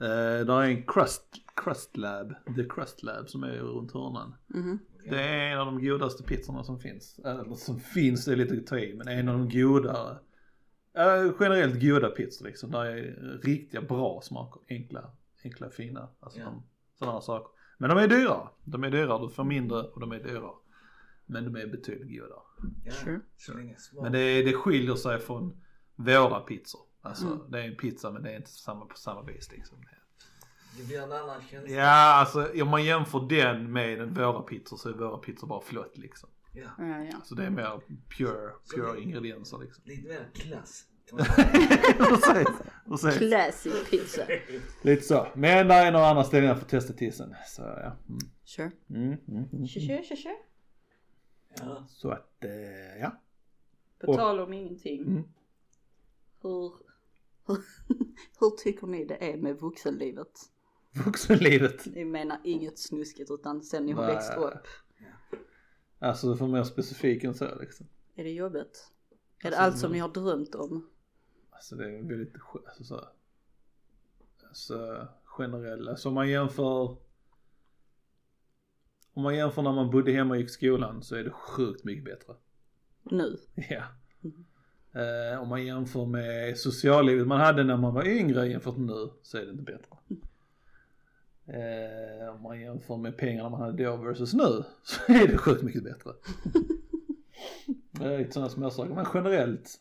Speaker 1: Eh, där är en crust, crust lab, the crust lab som är runt hörnan.
Speaker 2: Mhm.
Speaker 1: Det är en av de godaste pizzorna som finns. Eller som finns, det är lite att ta i, men en av de godare. Eh, generellt goda pizzor liksom. Där är riktiga bra smaker. Enkla, enkla fina. Alltså
Speaker 3: Ja.
Speaker 1: de, sådana här saker. Men de är dyra. De är dyra, du får mindre och de är dyra. Men de är betydligt godare.
Speaker 3: Ja,
Speaker 2: Sure.
Speaker 3: så länge smak.
Speaker 1: Men det, det skiljer sig från våra pizzor. Alltså
Speaker 2: Mm.
Speaker 1: det är en pizza men det är inte samma, på samma vis liksom.
Speaker 3: Det blir en annan känsla.
Speaker 1: Ja alltså om man jämför den med den våra pizzor så är våra pizzor bara flott liksom.
Speaker 3: Ja.
Speaker 2: Ja, ja.
Speaker 1: Så det är mer pure, pure
Speaker 3: det-
Speaker 1: ingredienser liksom.
Speaker 3: Lite mer klass. kan man säga.
Speaker 1: Precis, precis.
Speaker 2: Classic pizza.
Speaker 1: Lite så. Men där är några andra ställen jag får testa till sen. Så ja. Mm.
Speaker 2: Sure.
Speaker 1: Mm, mm, mm.
Speaker 2: Sure, sure, sure, sure.
Speaker 3: Ja.
Speaker 1: Så att eh, ja.
Speaker 2: På tal om ingenting.
Speaker 1: Mm.
Speaker 2: Hur, hur, hur tycker ni det är med vuxenlivet?
Speaker 1: Vuxenlivet.
Speaker 2: Jag menar inget snuskigt utan sen ni har
Speaker 1: Nej.
Speaker 2: växt upp.
Speaker 1: Alltså du får mer specifik än så liksom.
Speaker 2: Är det jobbigt? Är det
Speaker 1: Alltså,
Speaker 2: allt som
Speaker 1: men-
Speaker 2: ni har drömt om?
Speaker 1: Alltså det är väldigt, sk- alltså så här, alltså generella, alltså om man jämför om man jämför när man bodde hemma och gick i skolan så är det sjukt mycket bättre.
Speaker 2: Nu?
Speaker 1: Ja.
Speaker 2: Mm.
Speaker 1: Eh, om man jämför med sociallivet man hade när man var yngre jämfört med nu så är det inte bättre. Eh, om man jämför med pengarna man hade då versus nu så är det sjukt mycket bättre. Det är lite sådana småsaker men generellt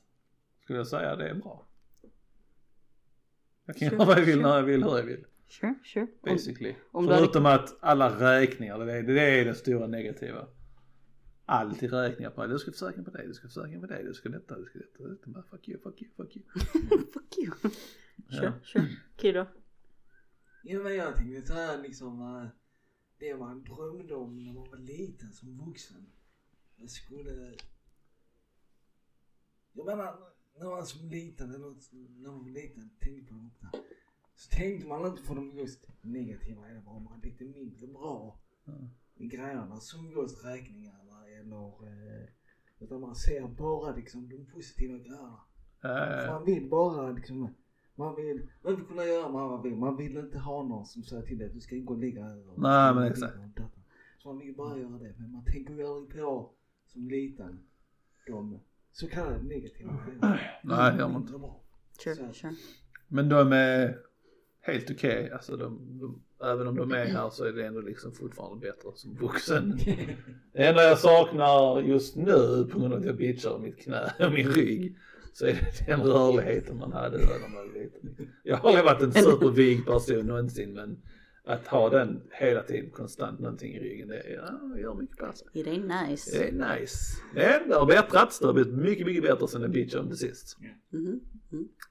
Speaker 1: skulle jag säga det är bra. Jag kan
Speaker 2: Sure,
Speaker 1: göra vad jag vill
Speaker 2: sure.
Speaker 1: när jag vill hur jag vill.
Speaker 2: Sure, sure. Om,
Speaker 1: Basically.
Speaker 2: om du hade-
Speaker 1: Förutom att alla räkningar, det är, det är den stora negativa. Alltid räkningar på, du ska försäkra på det, du ska försäkra på det, du ska detta, du ska detta, du ska detta. Fuck you, fuck you, fuck you.
Speaker 2: fuck you. Sure,
Speaker 1: Ja.
Speaker 2: sure. Kiddo?
Speaker 3: Ja, men jag tänkte så här liksom eh, det man drömde om när man var liten som vuxen. Jag skulle... Jag menar, när man som liten, eller något- när man var liten, tänkte på något där. Så tänkte man inte på de just negativa, eller var man lite mindre bra
Speaker 1: Ja.
Speaker 3: i grejerna som just räkningarna eller... eh, Utan man ser bara liksom de positiva grejerna.
Speaker 1: Eh,
Speaker 3: Man vill bara liksom, man vill, man vill kunna göra vad man vill. Man vill inte ha någon som säger till dig att du ska gå och ligga här. och-
Speaker 1: Nej, men exakt.
Speaker 3: Så man vill bara göra det. Men man tänker ju aldrig på som liten de så kallade negativa grejerna.
Speaker 1: nej, det gör man
Speaker 3: De
Speaker 1: inte.
Speaker 3: är inte bra.
Speaker 2: Sure,
Speaker 3: Så.
Speaker 2: sure.
Speaker 1: Men de är helt okej, alltså de, de, även om de är här så är det ändå liksom fortfarande bättre som vuxen. Det enda jag saknar just nu på grund av att jag bitchar mitt knä och min rygg så är det den rörligheten man hade när man var liten. Jag har aldrig varit en supervig person någonsin men att ha den hela tiden konstant någonting i ryggen det är, ja, gör mycket pass.
Speaker 2: It ain't nice.
Speaker 1: Det är nice. Men det har bättrats, det har blivit mycket, mycket bättre sen jag bitchade om det sist.
Speaker 2: Mhm.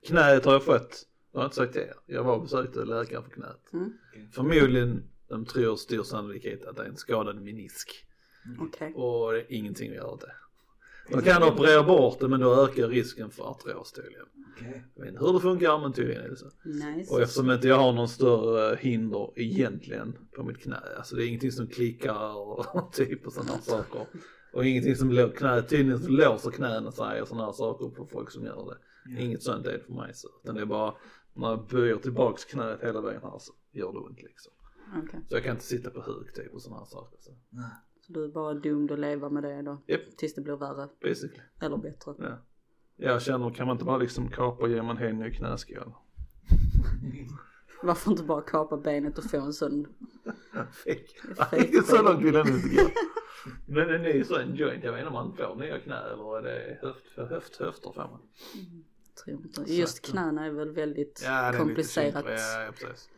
Speaker 1: Knäet har jag fått, jag har inte sagt det, jag var och besökte läkaren för knät.
Speaker 2: Mm.
Speaker 1: Förmodligen, de tror stor sannolikhet att det är en skadad menisk
Speaker 2: Okej.
Speaker 1: och det är ingenting vi gör åt det. De kan operera bort det men då ökar risken för artros tydligen.
Speaker 3: Okej.
Speaker 1: Jag vet inte hur det funkar men tydligen är det så. Och
Speaker 2: Nice.
Speaker 1: eftersom inte jag har någon större hinder egentligen på mitt knä, alltså det är ingenting som klickar och typ och sådana saker. Och ingenting som lå- knä, tydligen så låser knäna sig och sådana saker på folk som gör det. Inget sånt är det för mig så. Utan det är bara, när jag böjer tillbaks knäet hela vägen här så gör det ont liksom.
Speaker 2: Okej.
Speaker 1: Så jag kan inte sitta på huk typ och sådana saker. Så.
Speaker 3: Nej.
Speaker 2: Så du är bara doomed att leva med det då?
Speaker 1: Japp.
Speaker 2: Tills det blir värre.
Speaker 1: Basically.
Speaker 2: Eller bättre.
Speaker 1: Ja. Jag känner, kan man inte bara liksom kapa och ge mig en hel ny knäskål?
Speaker 2: Varför inte bara kapa benet och få en sån?
Speaker 1: Fick.
Speaker 2: Fake
Speaker 1: Nej, så långt vill jag nu inte gå. Men en ny sån joint, jag vet inte om man får nya knä eller är det höft, höft, höfter får man?
Speaker 2: tror inte. Just
Speaker 1: Exakt.
Speaker 2: knäna är väl väldigt
Speaker 1: det är typ, eh, lite
Speaker 2: komplicerat.
Speaker 1: kämpigt. Ja, ja, precis.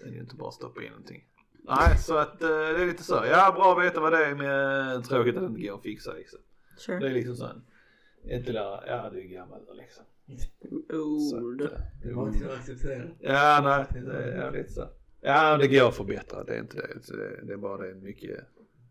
Speaker 1: Det är ju inte bara att stoppa in någonting.
Speaker 2: Mm.
Speaker 1: Nej, så att eh, det är lite så. Ja, bra att veta vad det är men tråkigt att det inte går att fixa liksom. Det
Speaker 2: Sure.
Speaker 1: är liksom sån. Inte där, ja du är gammal nu, liksom. Så
Speaker 2: Old.
Speaker 1: att, eh, det
Speaker 3: Det
Speaker 1: är
Speaker 3: var till att acceptera.
Speaker 1: Ja, nej, det är jävligt så. Ja, det går att förbättra, det är inte det. Så Det, det är bara det är mycket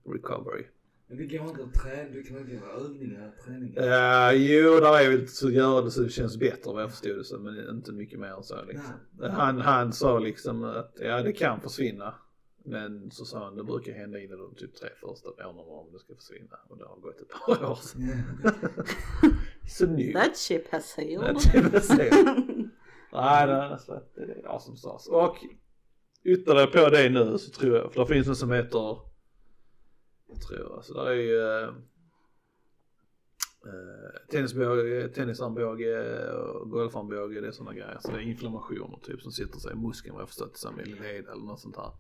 Speaker 1: recovery.
Speaker 3: Men det går inte att träna, du kan inte göra övningar,
Speaker 1: Eh.
Speaker 3: träningar.
Speaker 1: Ja, jo, där är väl så gör det så det känns bättre vad jag förstod det som, men inte mycket mer än så liksom. Han, han sa liksom att ja, det kan försvinna. Men så sa han, det brukar hända inom de typ tre första åren om det ska försvinna. Och det har gått ett par år sedan.
Speaker 3: Ja.
Speaker 1: Så nu.
Speaker 2: That ship has sailed.
Speaker 1: Nej, det är så. Nej, det är så att det är jag som sades. Och ytterligare på det nu så tror jag, för det finns en som heter, jag tror alltså där är ju eh, eh, tennisbåge, tennisarmbåge och golfarmbåge, det är sådana grejer. Så det är inflammationer typ som sitter sig i muskeln vad jag förstått, i samma led eller något sånt här.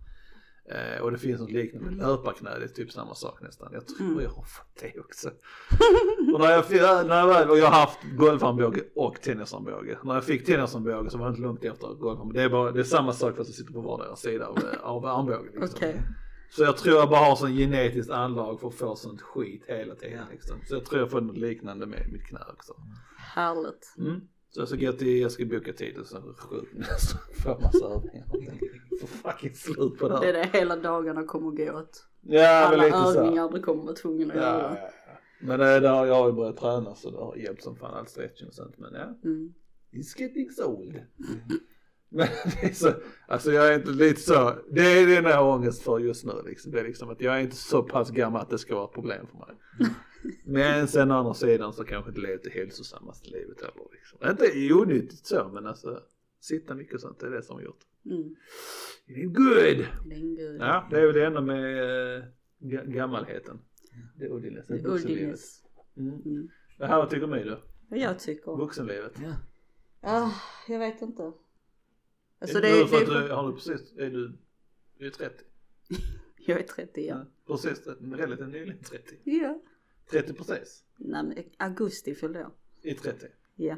Speaker 1: Eh, och det finns något liknande med löparknä, det är typ samma sak nästan. Jag tror
Speaker 2: Mm.
Speaker 1: jag har fått det också. Och när jag, fi- när jag, väl- och jag har haft golfarmbåge och tennisarmbåge. När jag fick tennisarmbåge så var det inte långt efter golfarmbåge. Det är, bara, det är samma sak fast jag sitter på vardera sida av, av armbågen. Liksom.
Speaker 2: Okej.
Speaker 1: Så jag tror jag bara har sån genetiskt anlag för att få sånt skit hela tiden.
Speaker 3: Ja.
Speaker 1: Liksom. Så jag tror jag får något liknande med mitt knä också.
Speaker 2: Härligt.
Speaker 1: Mm. Så jag ska gå till, jag ska boka tid och sen så får jag massa övningar. Får fucking slut på det
Speaker 2: Det är
Speaker 1: här.
Speaker 2: det hela dagarna kommer gå åt.
Speaker 1: Ja, men
Speaker 2: Alla
Speaker 1: lite så. här.
Speaker 2: övningar du kommer vara tvungen att
Speaker 1: Ja,
Speaker 2: göra.
Speaker 1: ja, ja. Men eh, det, det har jag har ju börjat träna så det har hjälpt som fan all stretching och sånt. Men ja,
Speaker 2: Mm.
Speaker 1: it's getting old. Men det är så, alltså jag är inte lite så, det är
Speaker 2: Mm.
Speaker 1: det jag har ångest för just nu liksom. Det är liksom att jag är inte så pass gammal att det ska vara ett problem för mig. Men sen å andra sidan så kanske inte levt det hälsosammaste livet heller. Liksom. Inte onyttigt så men alltså sitta mycket och sånt det är det som har gjort.
Speaker 2: Mm.
Speaker 1: It ain't good!
Speaker 2: Det är en gud.
Speaker 1: Ja det är väl det enda med eh, ga- gammalheten. Det är Uddinäs.
Speaker 2: Det är
Speaker 1: vuxenlivet.
Speaker 2: Uldiness.
Speaker 1: Mm.
Speaker 2: Mm.
Speaker 1: Det här vad tycker ni då?
Speaker 2: Vad jag tycker.
Speaker 1: Vuxenlivet?
Speaker 3: Ja.
Speaker 2: Ah, jag vet inte. Alltså
Speaker 1: är
Speaker 2: det,
Speaker 1: du,
Speaker 2: det,
Speaker 1: för
Speaker 2: det,
Speaker 1: att du, har du precis, är du, du är 30?
Speaker 2: Jag är 30 ja.
Speaker 1: Precis, relativt nyligen 30.
Speaker 2: Ja.
Speaker 1: 30 precis.
Speaker 2: Nej, men augusti fyllde jag.
Speaker 1: I 30.
Speaker 2: Ja.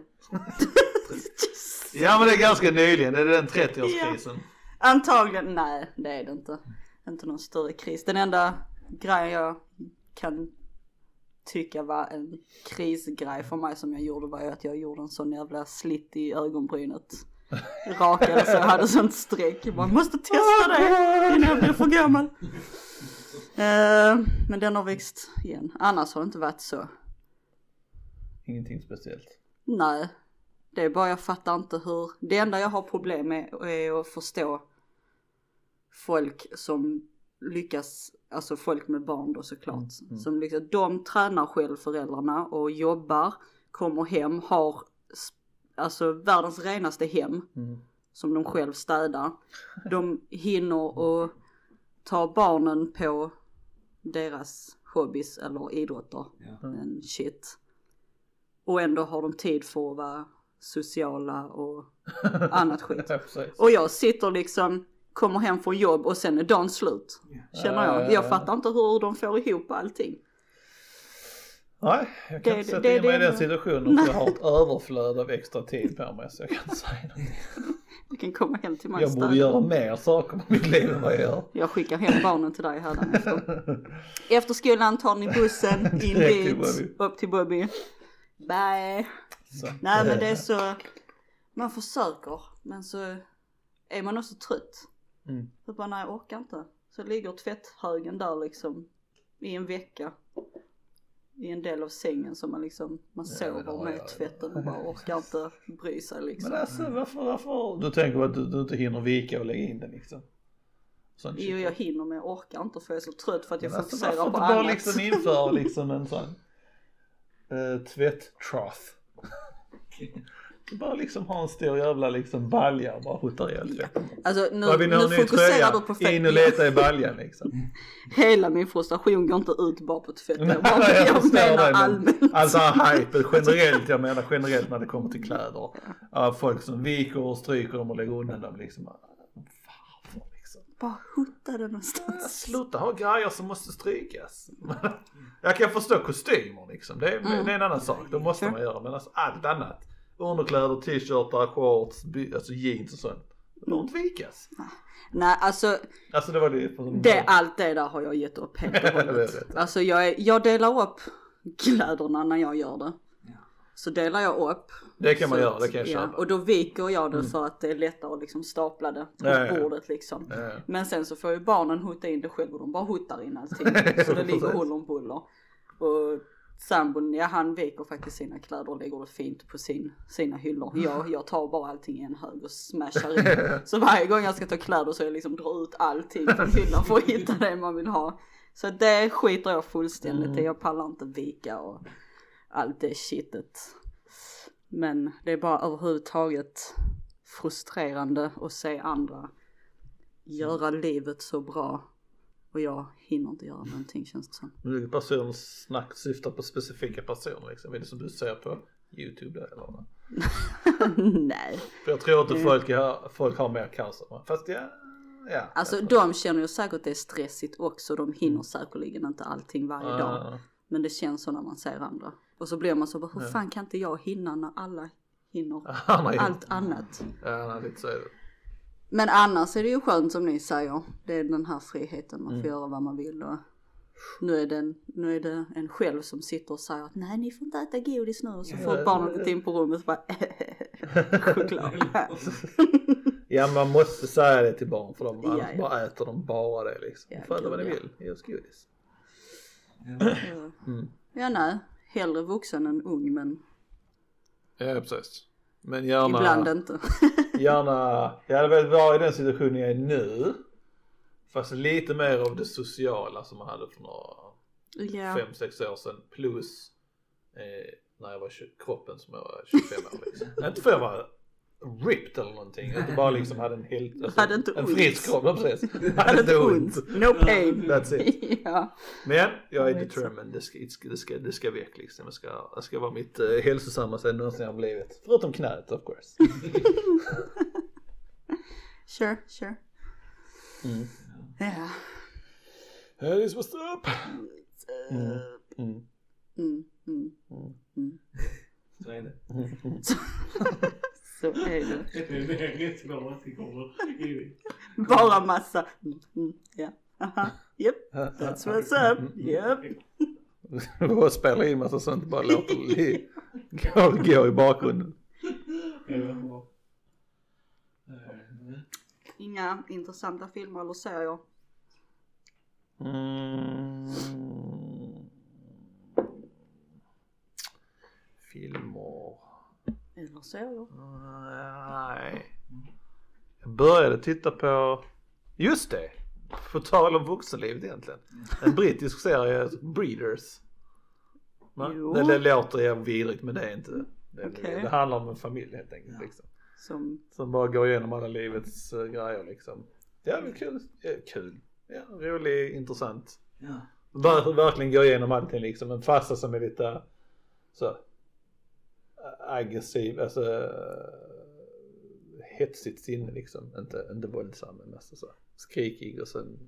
Speaker 1: Ja men det är ganska nyligen, det är den 30-årskrisen.
Speaker 2: Antagligen, nej det är det inte. Inte någon större kris. Den enda grejen jag kan tycka var en krisgrej för mig som jag gjorde var ju att jag gjorde en sån jävla slitt i ögonbrynet. Rakade så jag hade sånt streck. Jag bara, måste testa det innan jag blir för gammal. Eh, men den har växt igen. Annars har det inte varit så.
Speaker 1: Ingenting speciellt.
Speaker 2: Nej, det är bara jag fattar inte hur. Det enda jag har problem med är att förstå folk som lyckas, alltså folk med barn då såklart. Som lyckas, de tränar själv föräldrarna och jobbar, kommer hem, har s- alltså världens renaste hem
Speaker 1: Mm.
Speaker 2: som de själv städar. De hinner och ta barnen på deras hobbys eller idrotter
Speaker 3: Ja.
Speaker 2: men shit. Och ändå har de tid för att vara sociala och annat skit.
Speaker 1: Ja, precis.
Speaker 2: Och jag sitter liksom, kommer hem från jobb och sen är dagen slut. Känner jag. Jag fattar inte hur de får ihop allting.
Speaker 1: Nej, jag kan
Speaker 2: Det-
Speaker 1: inte sätta
Speaker 2: det-
Speaker 1: in
Speaker 2: det-
Speaker 1: mig i den
Speaker 2: det-
Speaker 1: situationen för jag har ett överflöd av extra tid på mig så jag kan inte säga någonting.
Speaker 2: Du kan komma hem till mig
Speaker 1: Jag borde
Speaker 2: istället.
Speaker 1: göra mer saker på mitt liv än vad jag gör.
Speaker 2: Jag skickar hem barnen till dig hädanefter. Efter skolan tar ni bussen in
Speaker 1: Direkt till
Speaker 2: dit, upp till Bobby. Bye.
Speaker 1: Så.
Speaker 2: Nej men det
Speaker 1: Eh.
Speaker 2: är så, man försöker men så är man också trött.
Speaker 1: Mm.
Speaker 2: Så bara nej jag orkar inte. Så ligger tvätthögen där liksom i en vecka. I en del av sängen som man liksom, man
Speaker 1: Ja,
Speaker 2: sover
Speaker 1: men det har
Speaker 2: med
Speaker 1: jag.
Speaker 2: tvätten och bara orkar inte bry sig liksom.
Speaker 1: Men alltså varför, varför? Du tänker på att du, du inte hinner vika och lägga in den liksom? Sån
Speaker 2: Jo
Speaker 1: shit.
Speaker 2: jag hinner men jag orkar inte för jag är så trött för att jag
Speaker 1: Men alltså,
Speaker 2: fokuserar
Speaker 1: varför
Speaker 2: på
Speaker 1: inte bara
Speaker 2: annat.
Speaker 1: liksom införa liksom en sån eh, tvätt-troth? bara liksom ha en stor jävla liksom balja och bara skjuta ihjäl tvätten.
Speaker 2: Alltså nu,
Speaker 1: Vad vill ni ha
Speaker 2: nu
Speaker 1: en ny tröja?
Speaker 2: fokuserar du på fett.
Speaker 1: In och leta i baljan liksom.
Speaker 2: Hela min frustration går inte ut bara på tvätt. Jag, bara,
Speaker 1: Nej,
Speaker 2: jag,
Speaker 1: förstår
Speaker 2: menar
Speaker 1: dig, men-
Speaker 2: allmänt.
Speaker 1: Alltså hype generellt, jag menar generellt när det kommer till kläder. Ja, folk som viker och stryker dem och lägger undan dem liksom. Varför liksom?
Speaker 2: Bara hutta det
Speaker 1: Ja,
Speaker 2: någonstans.
Speaker 1: Äh, Sluta ha grejer som måste strykas. Jag kan förstå kostymer liksom. Det är,
Speaker 2: Mm.
Speaker 1: det är en annan sak. Det måste
Speaker 2: Sure.
Speaker 1: man göra. Men alltså allt annat. Underkläder, t-shirtar, shorts, by- alltså jeans och sånt. Det behöver inte vikas.
Speaker 2: Nej alltså
Speaker 1: Alltså det var det.
Speaker 2: det, allt det där har jag gett upp helt och
Speaker 1: Jag vet
Speaker 2: hållet.
Speaker 1: det.
Speaker 2: Alltså jag, är, jag delar upp kläderna när jag gör det. Så delar jag upp.
Speaker 1: det kan man
Speaker 2: så
Speaker 1: göra,
Speaker 2: att-
Speaker 1: det kan jag
Speaker 2: ja,
Speaker 1: köpa. Mm.
Speaker 2: Och då viker jag det för att det är lättare att liksom stapla det på
Speaker 1: Ja, ja, ja.
Speaker 2: bordet liksom.
Speaker 1: Ja, ja.
Speaker 2: Men sen så får ju barnen hota in det själv och de bara hotar in allting. Så det ligger
Speaker 1: Precis.
Speaker 2: huller om buller. Och sambon, ja han viker faktiskt sina kläder och lägger det fint på sin, sina hyllor. Jag, jag tar bara allting i en hög och smashar in. Så varje gång jag ska ta kläder så jag liksom drar ut allting från hyllan för att hitta det man vill ha. Så det skiter jag fullständigt i. Jag pallar inte vika och allt det shitet. Men det är bara överhuvudtaget frustrerande att se andra göra livet så bra. Och jag hinner inte göra någonting känns det som.
Speaker 1: Nu är det persons snack syftar på specifika personer liksom. Är det som du ser på YouTube där eller? vad?
Speaker 2: Nej.
Speaker 1: För jag tror inte folk, har- folk har mer cancer. va? Fast ja, ja. Mm.
Speaker 2: Alltså de känner ju säkert det är stressigt också. De hinner säkerligen inte allting varje dag.
Speaker 1: Ah,
Speaker 2: Men det känns så när man ser andra. Och så blir man så bara, hur fan kan inte jag hinna när alla hinner
Speaker 1: han har ju-
Speaker 2: allt annat?
Speaker 1: Ja, nej, lite så är det.
Speaker 2: Men annars är det ju skönt som ni säger. Det är den här friheten,
Speaker 1: Mm.
Speaker 2: man får göra vad man vill. Och nu, är det en, nu är det en själv som sitter och säger att nej ni får inte äta godis nu. Och så får
Speaker 1: Ja.
Speaker 2: barnen gått in på rummet och bara choklad.
Speaker 1: Ja man måste säga det till barn för de
Speaker 2: Ja,
Speaker 1: annars
Speaker 2: ja.
Speaker 1: bara äter de bara det liksom.
Speaker 2: Ja,
Speaker 1: Ja, Föräldrar vad ni
Speaker 2: gud,
Speaker 1: vill, ge oss godis. Mm.
Speaker 2: ja nej, hellre vuxen än ung men
Speaker 1: Ja precis. Men gärna,
Speaker 2: ibland inte.
Speaker 1: gärna, jag hade velat vara i den situationen jag är nu. Fast lite mer av det sociala som man hade för några
Speaker 2: Ja.
Speaker 1: fem sex år sedan plus eh, när jag var tjo- kroppen som jag var 25 år liksom. inte för jag var ripped eller någonting, inte bara liksom hade en helt, alltså,
Speaker 2: Hade inte
Speaker 1: en
Speaker 2: ont.
Speaker 1: frisk kropp, ja, precis.
Speaker 2: Hade inte ont. No pain.
Speaker 1: That's it.
Speaker 2: ja.
Speaker 1: Men jag är
Speaker 2: Jag vet så.
Speaker 1: determined, det ska, det ska, det ska, det ska väck liksom. Det ska, det ska vara mitt eh, hälsosammaste jag någonsin har blivit. Förutom knät of course.
Speaker 2: Sure, sure.
Speaker 1: Mm.
Speaker 2: Ja.
Speaker 1: That is what's up. Mm. Mm.
Speaker 2: Eh, Mm, mm.
Speaker 3: Så
Speaker 2: Så
Speaker 3: är det.
Speaker 2: är det.
Speaker 3: Det är rätt bra återkommor.
Speaker 2: Bara massa. Mm, mm, ja. Aha. Yep, that's what's
Speaker 1: Mm,
Speaker 2: up. Yep.
Speaker 1: Bara spela in massa sånt bara låter li- gå, gå i bakgrunden.
Speaker 2: Inga intressanta filmer eller serier.
Speaker 1: Mm. Filmer.
Speaker 2: Eller serier.
Speaker 1: Nej. Jag började titta på, just det, på tal om vuxenlivet egentligen. En brittisk serie, Breeders. Va?
Speaker 2: Jo.
Speaker 1: Det, det låter jag vidrigt men det är inte det. Det,
Speaker 2: Okej.
Speaker 1: det handlar om en familj helt enkelt. Liksom.
Speaker 2: Som,
Speaker 1: Som bara går igenom alla livets eh, grejer liksom. Det är väl kul. Ja, kul. Ja, rolig, intressant.
Speaker 3: Ja.
Speaker 1: Ver, verkligen gå igenom allting liksom. En farsa som är lite så äh, aggressiv, alltså eh, hetsigt sinne liksom. Inte, inte våldsam men mest så skrikig och sen,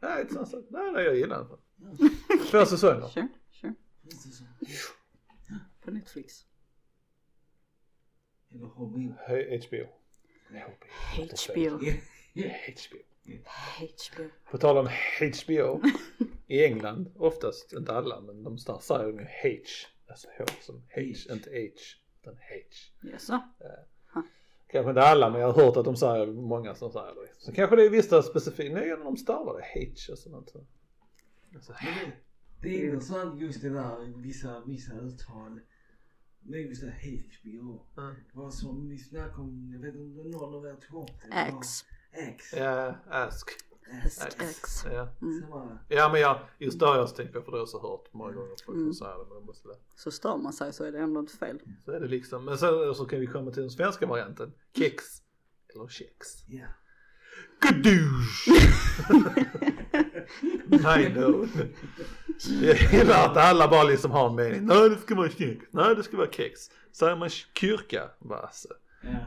Speaker 1: nej inte sånt. så- Nej, nej jag gillar den. Två säsonger.
Speaker 2: sure, sure.
Speaker 3: Finns det så?
Speaker 2: På Netflix.
Speaker 3: Eller hobby.
Speaker 1: H- HBO. Nej,
Speaker 2: HBO.
Speaker 1: HBO.
Speaker 2: HBO.
Speaker 1: På tal om HBO i England, oftast, inte alla, men de där säger de ju H, alltså H som H,
Speaker 3: H.
Speaker 1: inte H, utan H.
Speaker 2: Jaså?
Speaker 1: Kanske inte alla, men jag har hört att de säger, många som säger det. Så kanske det är vissa specifika, nej, de stavar det H och sånt. där. Alltså,
Speaker 3: Det är intressant just det där vissa, vissa uttal. Det är just det här HBO.
Speaker 1: Ja.
Speaker 2: Mm.
Speaker 3: Vad som vi snackade om, jag vet inte om någon av er tog upp det. Det var
Speaker 2: X.
Speaker 3: X.
Speaker 1: Ja, ask.
Speaker 3: X.
Speaker 2: X.
Speaker 1: Ja.
Speaker 3: Samma.
Speaker 1: ja, men jag, just det har jag tänkt på, för det har jag så hört många gånger folk som
Speaker 2: Mm.
Speaker 1: säger det, men de måste lära.
Speaker 2: Så stör man sig så är det ändå inte fel.
Speaker 1: Så är det liksom, men sen så kan vi komma till den svenska varianten, kex eller kex.
Speaker 3: Ja.
Speaker 1: Kadoosh! Nej, no. Jag gillar att alla bara liksom har en mening. Nej, det ska vara kex. Nej, det ska vara kex. Säger man kyrka, vad alltså.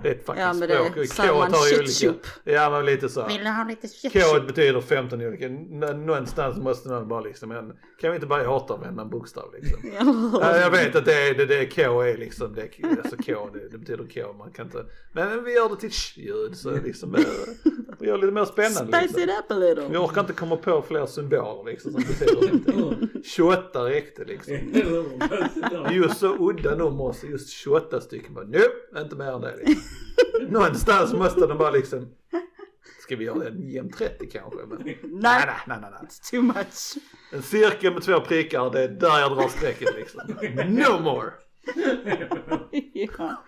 Speaker 1: Det är ett fucking
Speaker 2: Ja, men det
Speaker 1: språk.
Speaker 2: säger
Speaker 1: K
Speaker 2: man
Speaker 1: tar ju
Speaker 2: ketchup.
Speaker 1: olika. Ja, men lite så.
Speaker 2: du ha lite
Speaker 1: K betyder 15 olika. N- Någonstans måste man bara liksom, en- kan vi inte bara återanvända en bokstav liksom? Ja, jag vet att det, är, det, det är K är liksom, det, är- alltså K det, det betyder K, man kan inte, men vi gör det till ljud så liksom, eh, vi gör det lite mer spännande.
Speaker 2: Spice it
Speaker 1: Liksom.
Speaker 2: up a little.
Speaker 1: Vi orkar inte komma på fler symboler liksom som betyder någonting. 28 räckte liksom. Just så udda nummer så just 28 stycken bara, nu, inte mer än det liksom. Någonstans måste de bara liksom, ska vi göra en jämn 30 kanske? Men, nej,
Speaker 2: Nej,
Speaker 1: nej, nej, nej. nej.
Speaker 2: it's too much.
Speaker 1: En cirkel med två prickar, det är där jag drar strecket liksom. No more!
Speaker 2: ja.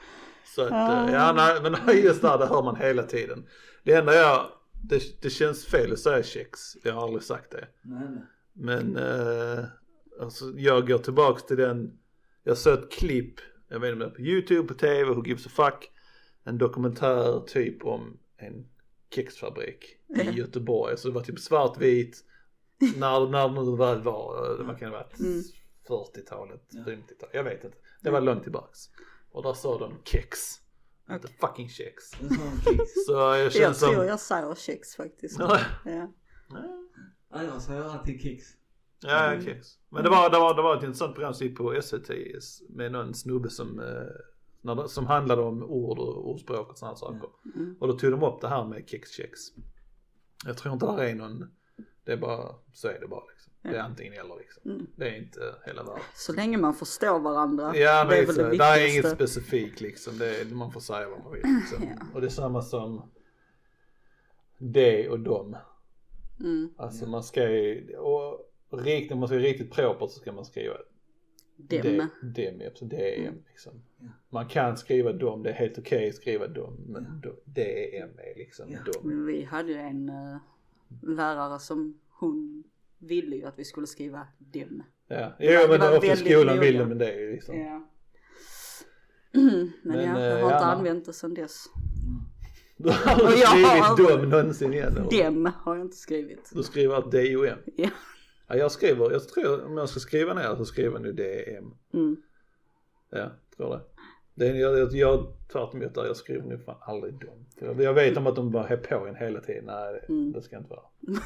Speaker 1: Så att, eh, ja nej, men just där, det hör man hela tiden. Det enda jag, det, det känns fel att säga kex, jag har aldrig sagt det.
Speaker 3: Nej, nej.
Speaker 1: Men eh, alltså, jag går tillbaks till den, jag såg ett klipp, jag vet inte om det var på YouTube, på TV, who gives a fuck. En dokumentär typ om en kexfabrik i Göteborg. Så det var typ svartvit, när, när det nu väl var, eh, vad kan det vara,
Speaker 2: Mm.
Speaker 1: 40-talet,
Speaker 3: Ja.
Speaker 1: 50-talet, jag vet inte. Det var långt tillbaks. Och där sa de kex, inte fucking kex.
Speaker 3: Det sa han Kicks.
Speaker 1: Så jag känner
Speaker 2: Mm. Jag tror
Speaker 1: som...
Speaker 2: jag säger kex faktiskt. Ja.
Speaker 3: Annars sa jag alltid Kicks.
Speaker 1: Ja, mm. Men det var, det, var, det var ett intressant program som gick på SVT med någon snubbe som, eh, när det- som handlade om ord och ordspråk och sådana saker.
Speaker 2: Mm.
Speaker 1: Och då tog de upp det här med kexchex. Jag tror inte det är någon, det är bara, så är det bara liksom. Det är antingen eller liksom.
Speaker 2: Mm.
Speaker 1: Det är inte hela världen.
Speaker 2: Så länge man förstår varandra.
Speaker 1: Ja,
Speaker 2: det är
Speaker 1: men
Speaker 2: väl
Speaker 1: så,
Speaker 2: det
Speaker 1: det är inget
Speaker 2: viktigaste.
Speaker 1: specifikt liksom. Det är, man får säga vad man vill liksom. Och det är samma som det och dem.
Speaker 2: Mm.
Speaker 1: Alltså man ska ju, och rikt, om man ska vara riktigt proper så ska man skriva
Speaker 2: Dem.
Speaker 1: Dem, dem, ja, precis, dem
Speaker 2: Mm.
Speaker 1: liksom.
Speaker 3: Ja.
Speaker 1: Man kan skriva dem, det är helt okej att skriva dem, men ja. dem är liksom
Speaker 3: Ja.
Speaker 2: Mm.
Speaker 1: dem.
Speaker 2: Men Vi hade ju en eh, lärare som hon ville ju att vi skulle skriva dem.
Speaker 1: Ja. Jo men det
Speaker 2: var
Speaker 1: var för
Speaker 2: väldigt
Speaker 1: skolan
Speaker 2: noga.
Speaker 1: ville men det är ju liksom.
Speaker 2: Ja. Men,
Speaker 1: Men,
Speaker 2: ja,
Speaker 1: eh,
Speaker 2: jag har
Speaker 1: ja,
Speaker 2: inte
Speaker 1: man-
Speaker 2: använt det sedan dess.
Speaker 1: Du har aldrig
Speaker 2: jag har-
Speaker 1: skrivit dom någonsin igen eller?
Speaker 2: Dem har jag inte skrivit.
Speaker 1: Du skriver att DOM.
Speaker 2: Ja.
Speaker 1: Ja, jag skriver, jag tror om jag ska skriva ner så skriver jag nu DEM.
Speaker 2: Mm.
Speaker 1: Ja, tror det. det är, jag, jag, jag tvärtom mot där, jag skriver nu fan aldrig dom. För Jag, jag vet om att de bara är på en hela tiden, nej det,
Speaker 2: Mm.
Speaker 1: det ska inte vara.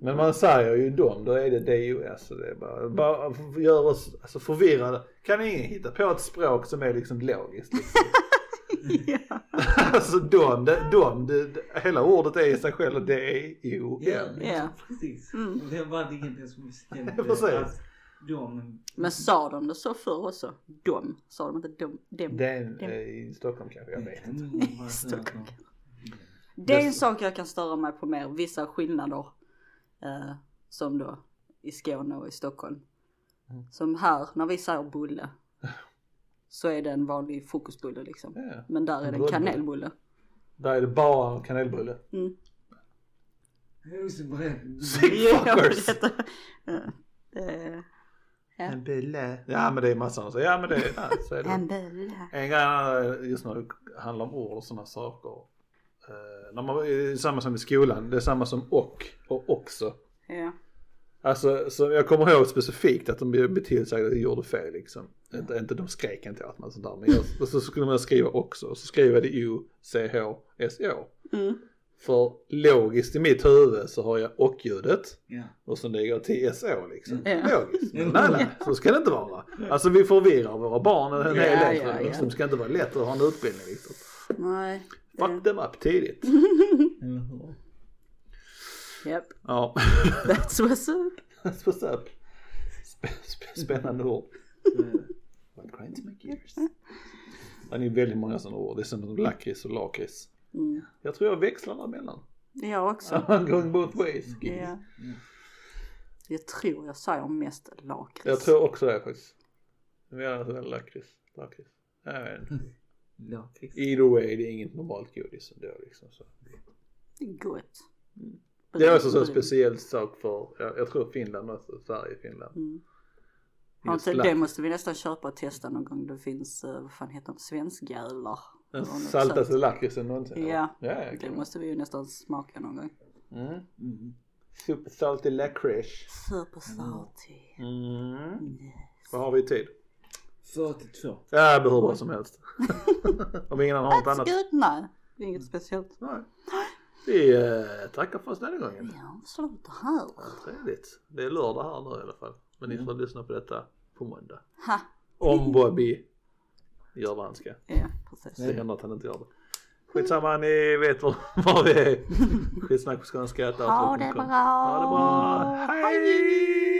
Speaker 1: Men man säger ju dom, då är det DOS och det är bara, bara gör oss alltså, förvirrade. Kan ingen hitta på ett språk som är liksom logiskt? Liksom?
Speaker 2: ja.
Speaker 1: alltså dom, det, dom det, det, hela ordet är i sig själv D-O-M.
Speaker 2: Ja.
Speaker 3: precis.
Speaker 2: Mm.
Speaker 3: Det var det ingen som bestämde
Speaker 1: Precis.
Speaker 3: att de...
Speaker 2: Men sa de det så förr också? Dom? Sa de inte dom? Dem? Det,
Speaker 1: Den eh, i Stockholm kanske, jag vet inte.
Speaker 3: Mm,
Speaker 2: Stockholm.
Speaker 3: alltså,
Speaker 2: är en sak jag kan störa mig på mer. Vissa skillnader. Eh, som då i Skåne och i Stockholm.
Speaker 1: Mm.
Speaker 2: Som här, när vi säger bulle. Så är det en vanlig fokusbulle liksom.
Speaker 1: Ja.
Speaker 2: Men där är det en
Speaker 1: Brödbulle.
Speaker 2: kanelbulle.
Speaker 1: Där är det bara kanelbulle.
Speaker 2: Mm.
Speaker 3: Jag är så beredd.
Speaker 1: Sick fuckers!
Speaker 2: Ja, detta- ja, det- Ja.
Speaker 1: En bulle. Ja men det är massa annat. Ja men det är, ja, så är det.
Speaker 2: En bulle.
Speaker 1: En grej eh, just när det handlar om ord och sådana saker. Eh, när man, det är samma som i skolan, det är samma som och och också.
Speaker 2: Ja.
Speaker 1: Alltså så jag kommer ihåg specifikt att de blev tillsagda att de gjorde fel liksom. Inte, inte de skrek inte åt mig och sånt där. Men jag, och så skulle man skriva också. Och så skrev jag det o c h s o.
Speaker 2: Mm.
Speaker 1: För logiskt i mitt huvud så har jag och-ljudet.
Speaker 3: Ja.
Speaker 1: Och sen lägger jag till SO liksom.
Speaker 2: Ja. Mm.
Speaker 1: Logiskt. Men nej, nej, så ska det inte vara. Alltså vi förvirrar våra barn en hel
Speaker 2: Ja,
Speaker 1: del.
Speaker 2: ja, ja.
Speaker 1: liksom. Det ska inte vara lätt att ha en utbildning liksom.
Speaker 2: Nej.
Speaker 1: Fuck them up tidigt.
Speaker 2: Mm-hmm.
Speaker 3: Eller hur?
Speaker 2: Yep.
Speaker 1: Ja,
Speaker 2: Eh, That's what's up.
Speaker 1: what's up? Sp- sp- Spännande ord.
Speaker 3: Så-
Speaker 1: What grinds my gears? Ja, Det är väldigt många sådana ord. Det är som lakrits och lakrits.
Speaker 2: Mm.
Speaker 1: Jag tror jag växlar däremellan.
Speaker 2: Jag också.
Speaker 1: I'm going both ways.
Speaker 2: Ja.
Speaker 1: Mm.
Speaker 2: Jag tror jag säger mest lakrits.
Speaker 1: Jag tror också det faktiskt. Men jag använder lakrits. Lakrits. Jag vet inte.
Speaker 3: Lakrits.
Speaker 1: Either way, det är inget normalt godis ändå liksom. Så.
Speaker 2: Det är gott.
Speaker 1: Det är också så en
Speaker 2: Brun.
Speaker 1: speciell sak för, jag, jag tror Finland också, Sverige, Finland.
Speaker 2: Mm. Ja,
Speaker 1: Just
Speaker 2: inte- det
Speaker 1: lax.
Speaker 2: måste vi nästan köpa och testa någon gång. Det finns, eh, vad fan heter de, svenskgälar. Det
Speaker 1: Den
Speaker 2: var något
Speaker 1: saltaste
Speaker 2: sånt.
Speaker 1: lakritsen någonsin.
Speaker 2: Ja.
Speaker 1: ja, ja
Speaker 2: Det
Speaker 1: cool.
Speaker 2: måste vi ju nästan smaka någon gång.
Speaker 1: mm.
Speaker 3: Mm.
Speaker 1: Supersalty lakrits.
Speaker 2: Supersalty.
Speaker 1: Mm.
Speaker 2: Yes.
Speaker 1: Vad har vi i tid?
Speaker 3: 42.
Speaker 1: Ja, hur bra som helst. Om ingen annan har något
Speaker 2: That's
Speaker 1: annat.
Speaker 2: good. Nej, det är inget speciellt.
Speaker 1: Nej. Vi eh, tackar för oss denna gången.
Speaker 2: Vi avslutar här.
Speaker 1: Ja, trevligt. Det är lördag här nu i alla fall. Men ni får lyssna på detta på måndag.
Speaker 2: Ha.
Speaker 1: Om Bobby gör vad han ska.
Speaker 2: Ja, precis.
Speaker 1: Det händer att han inte gör det. Skitsamma, ni vet var, var vi är. Skitsnack på skånska.
Speaker 2: Ha det bra.
Speaker 1: Ha det bra. Hej!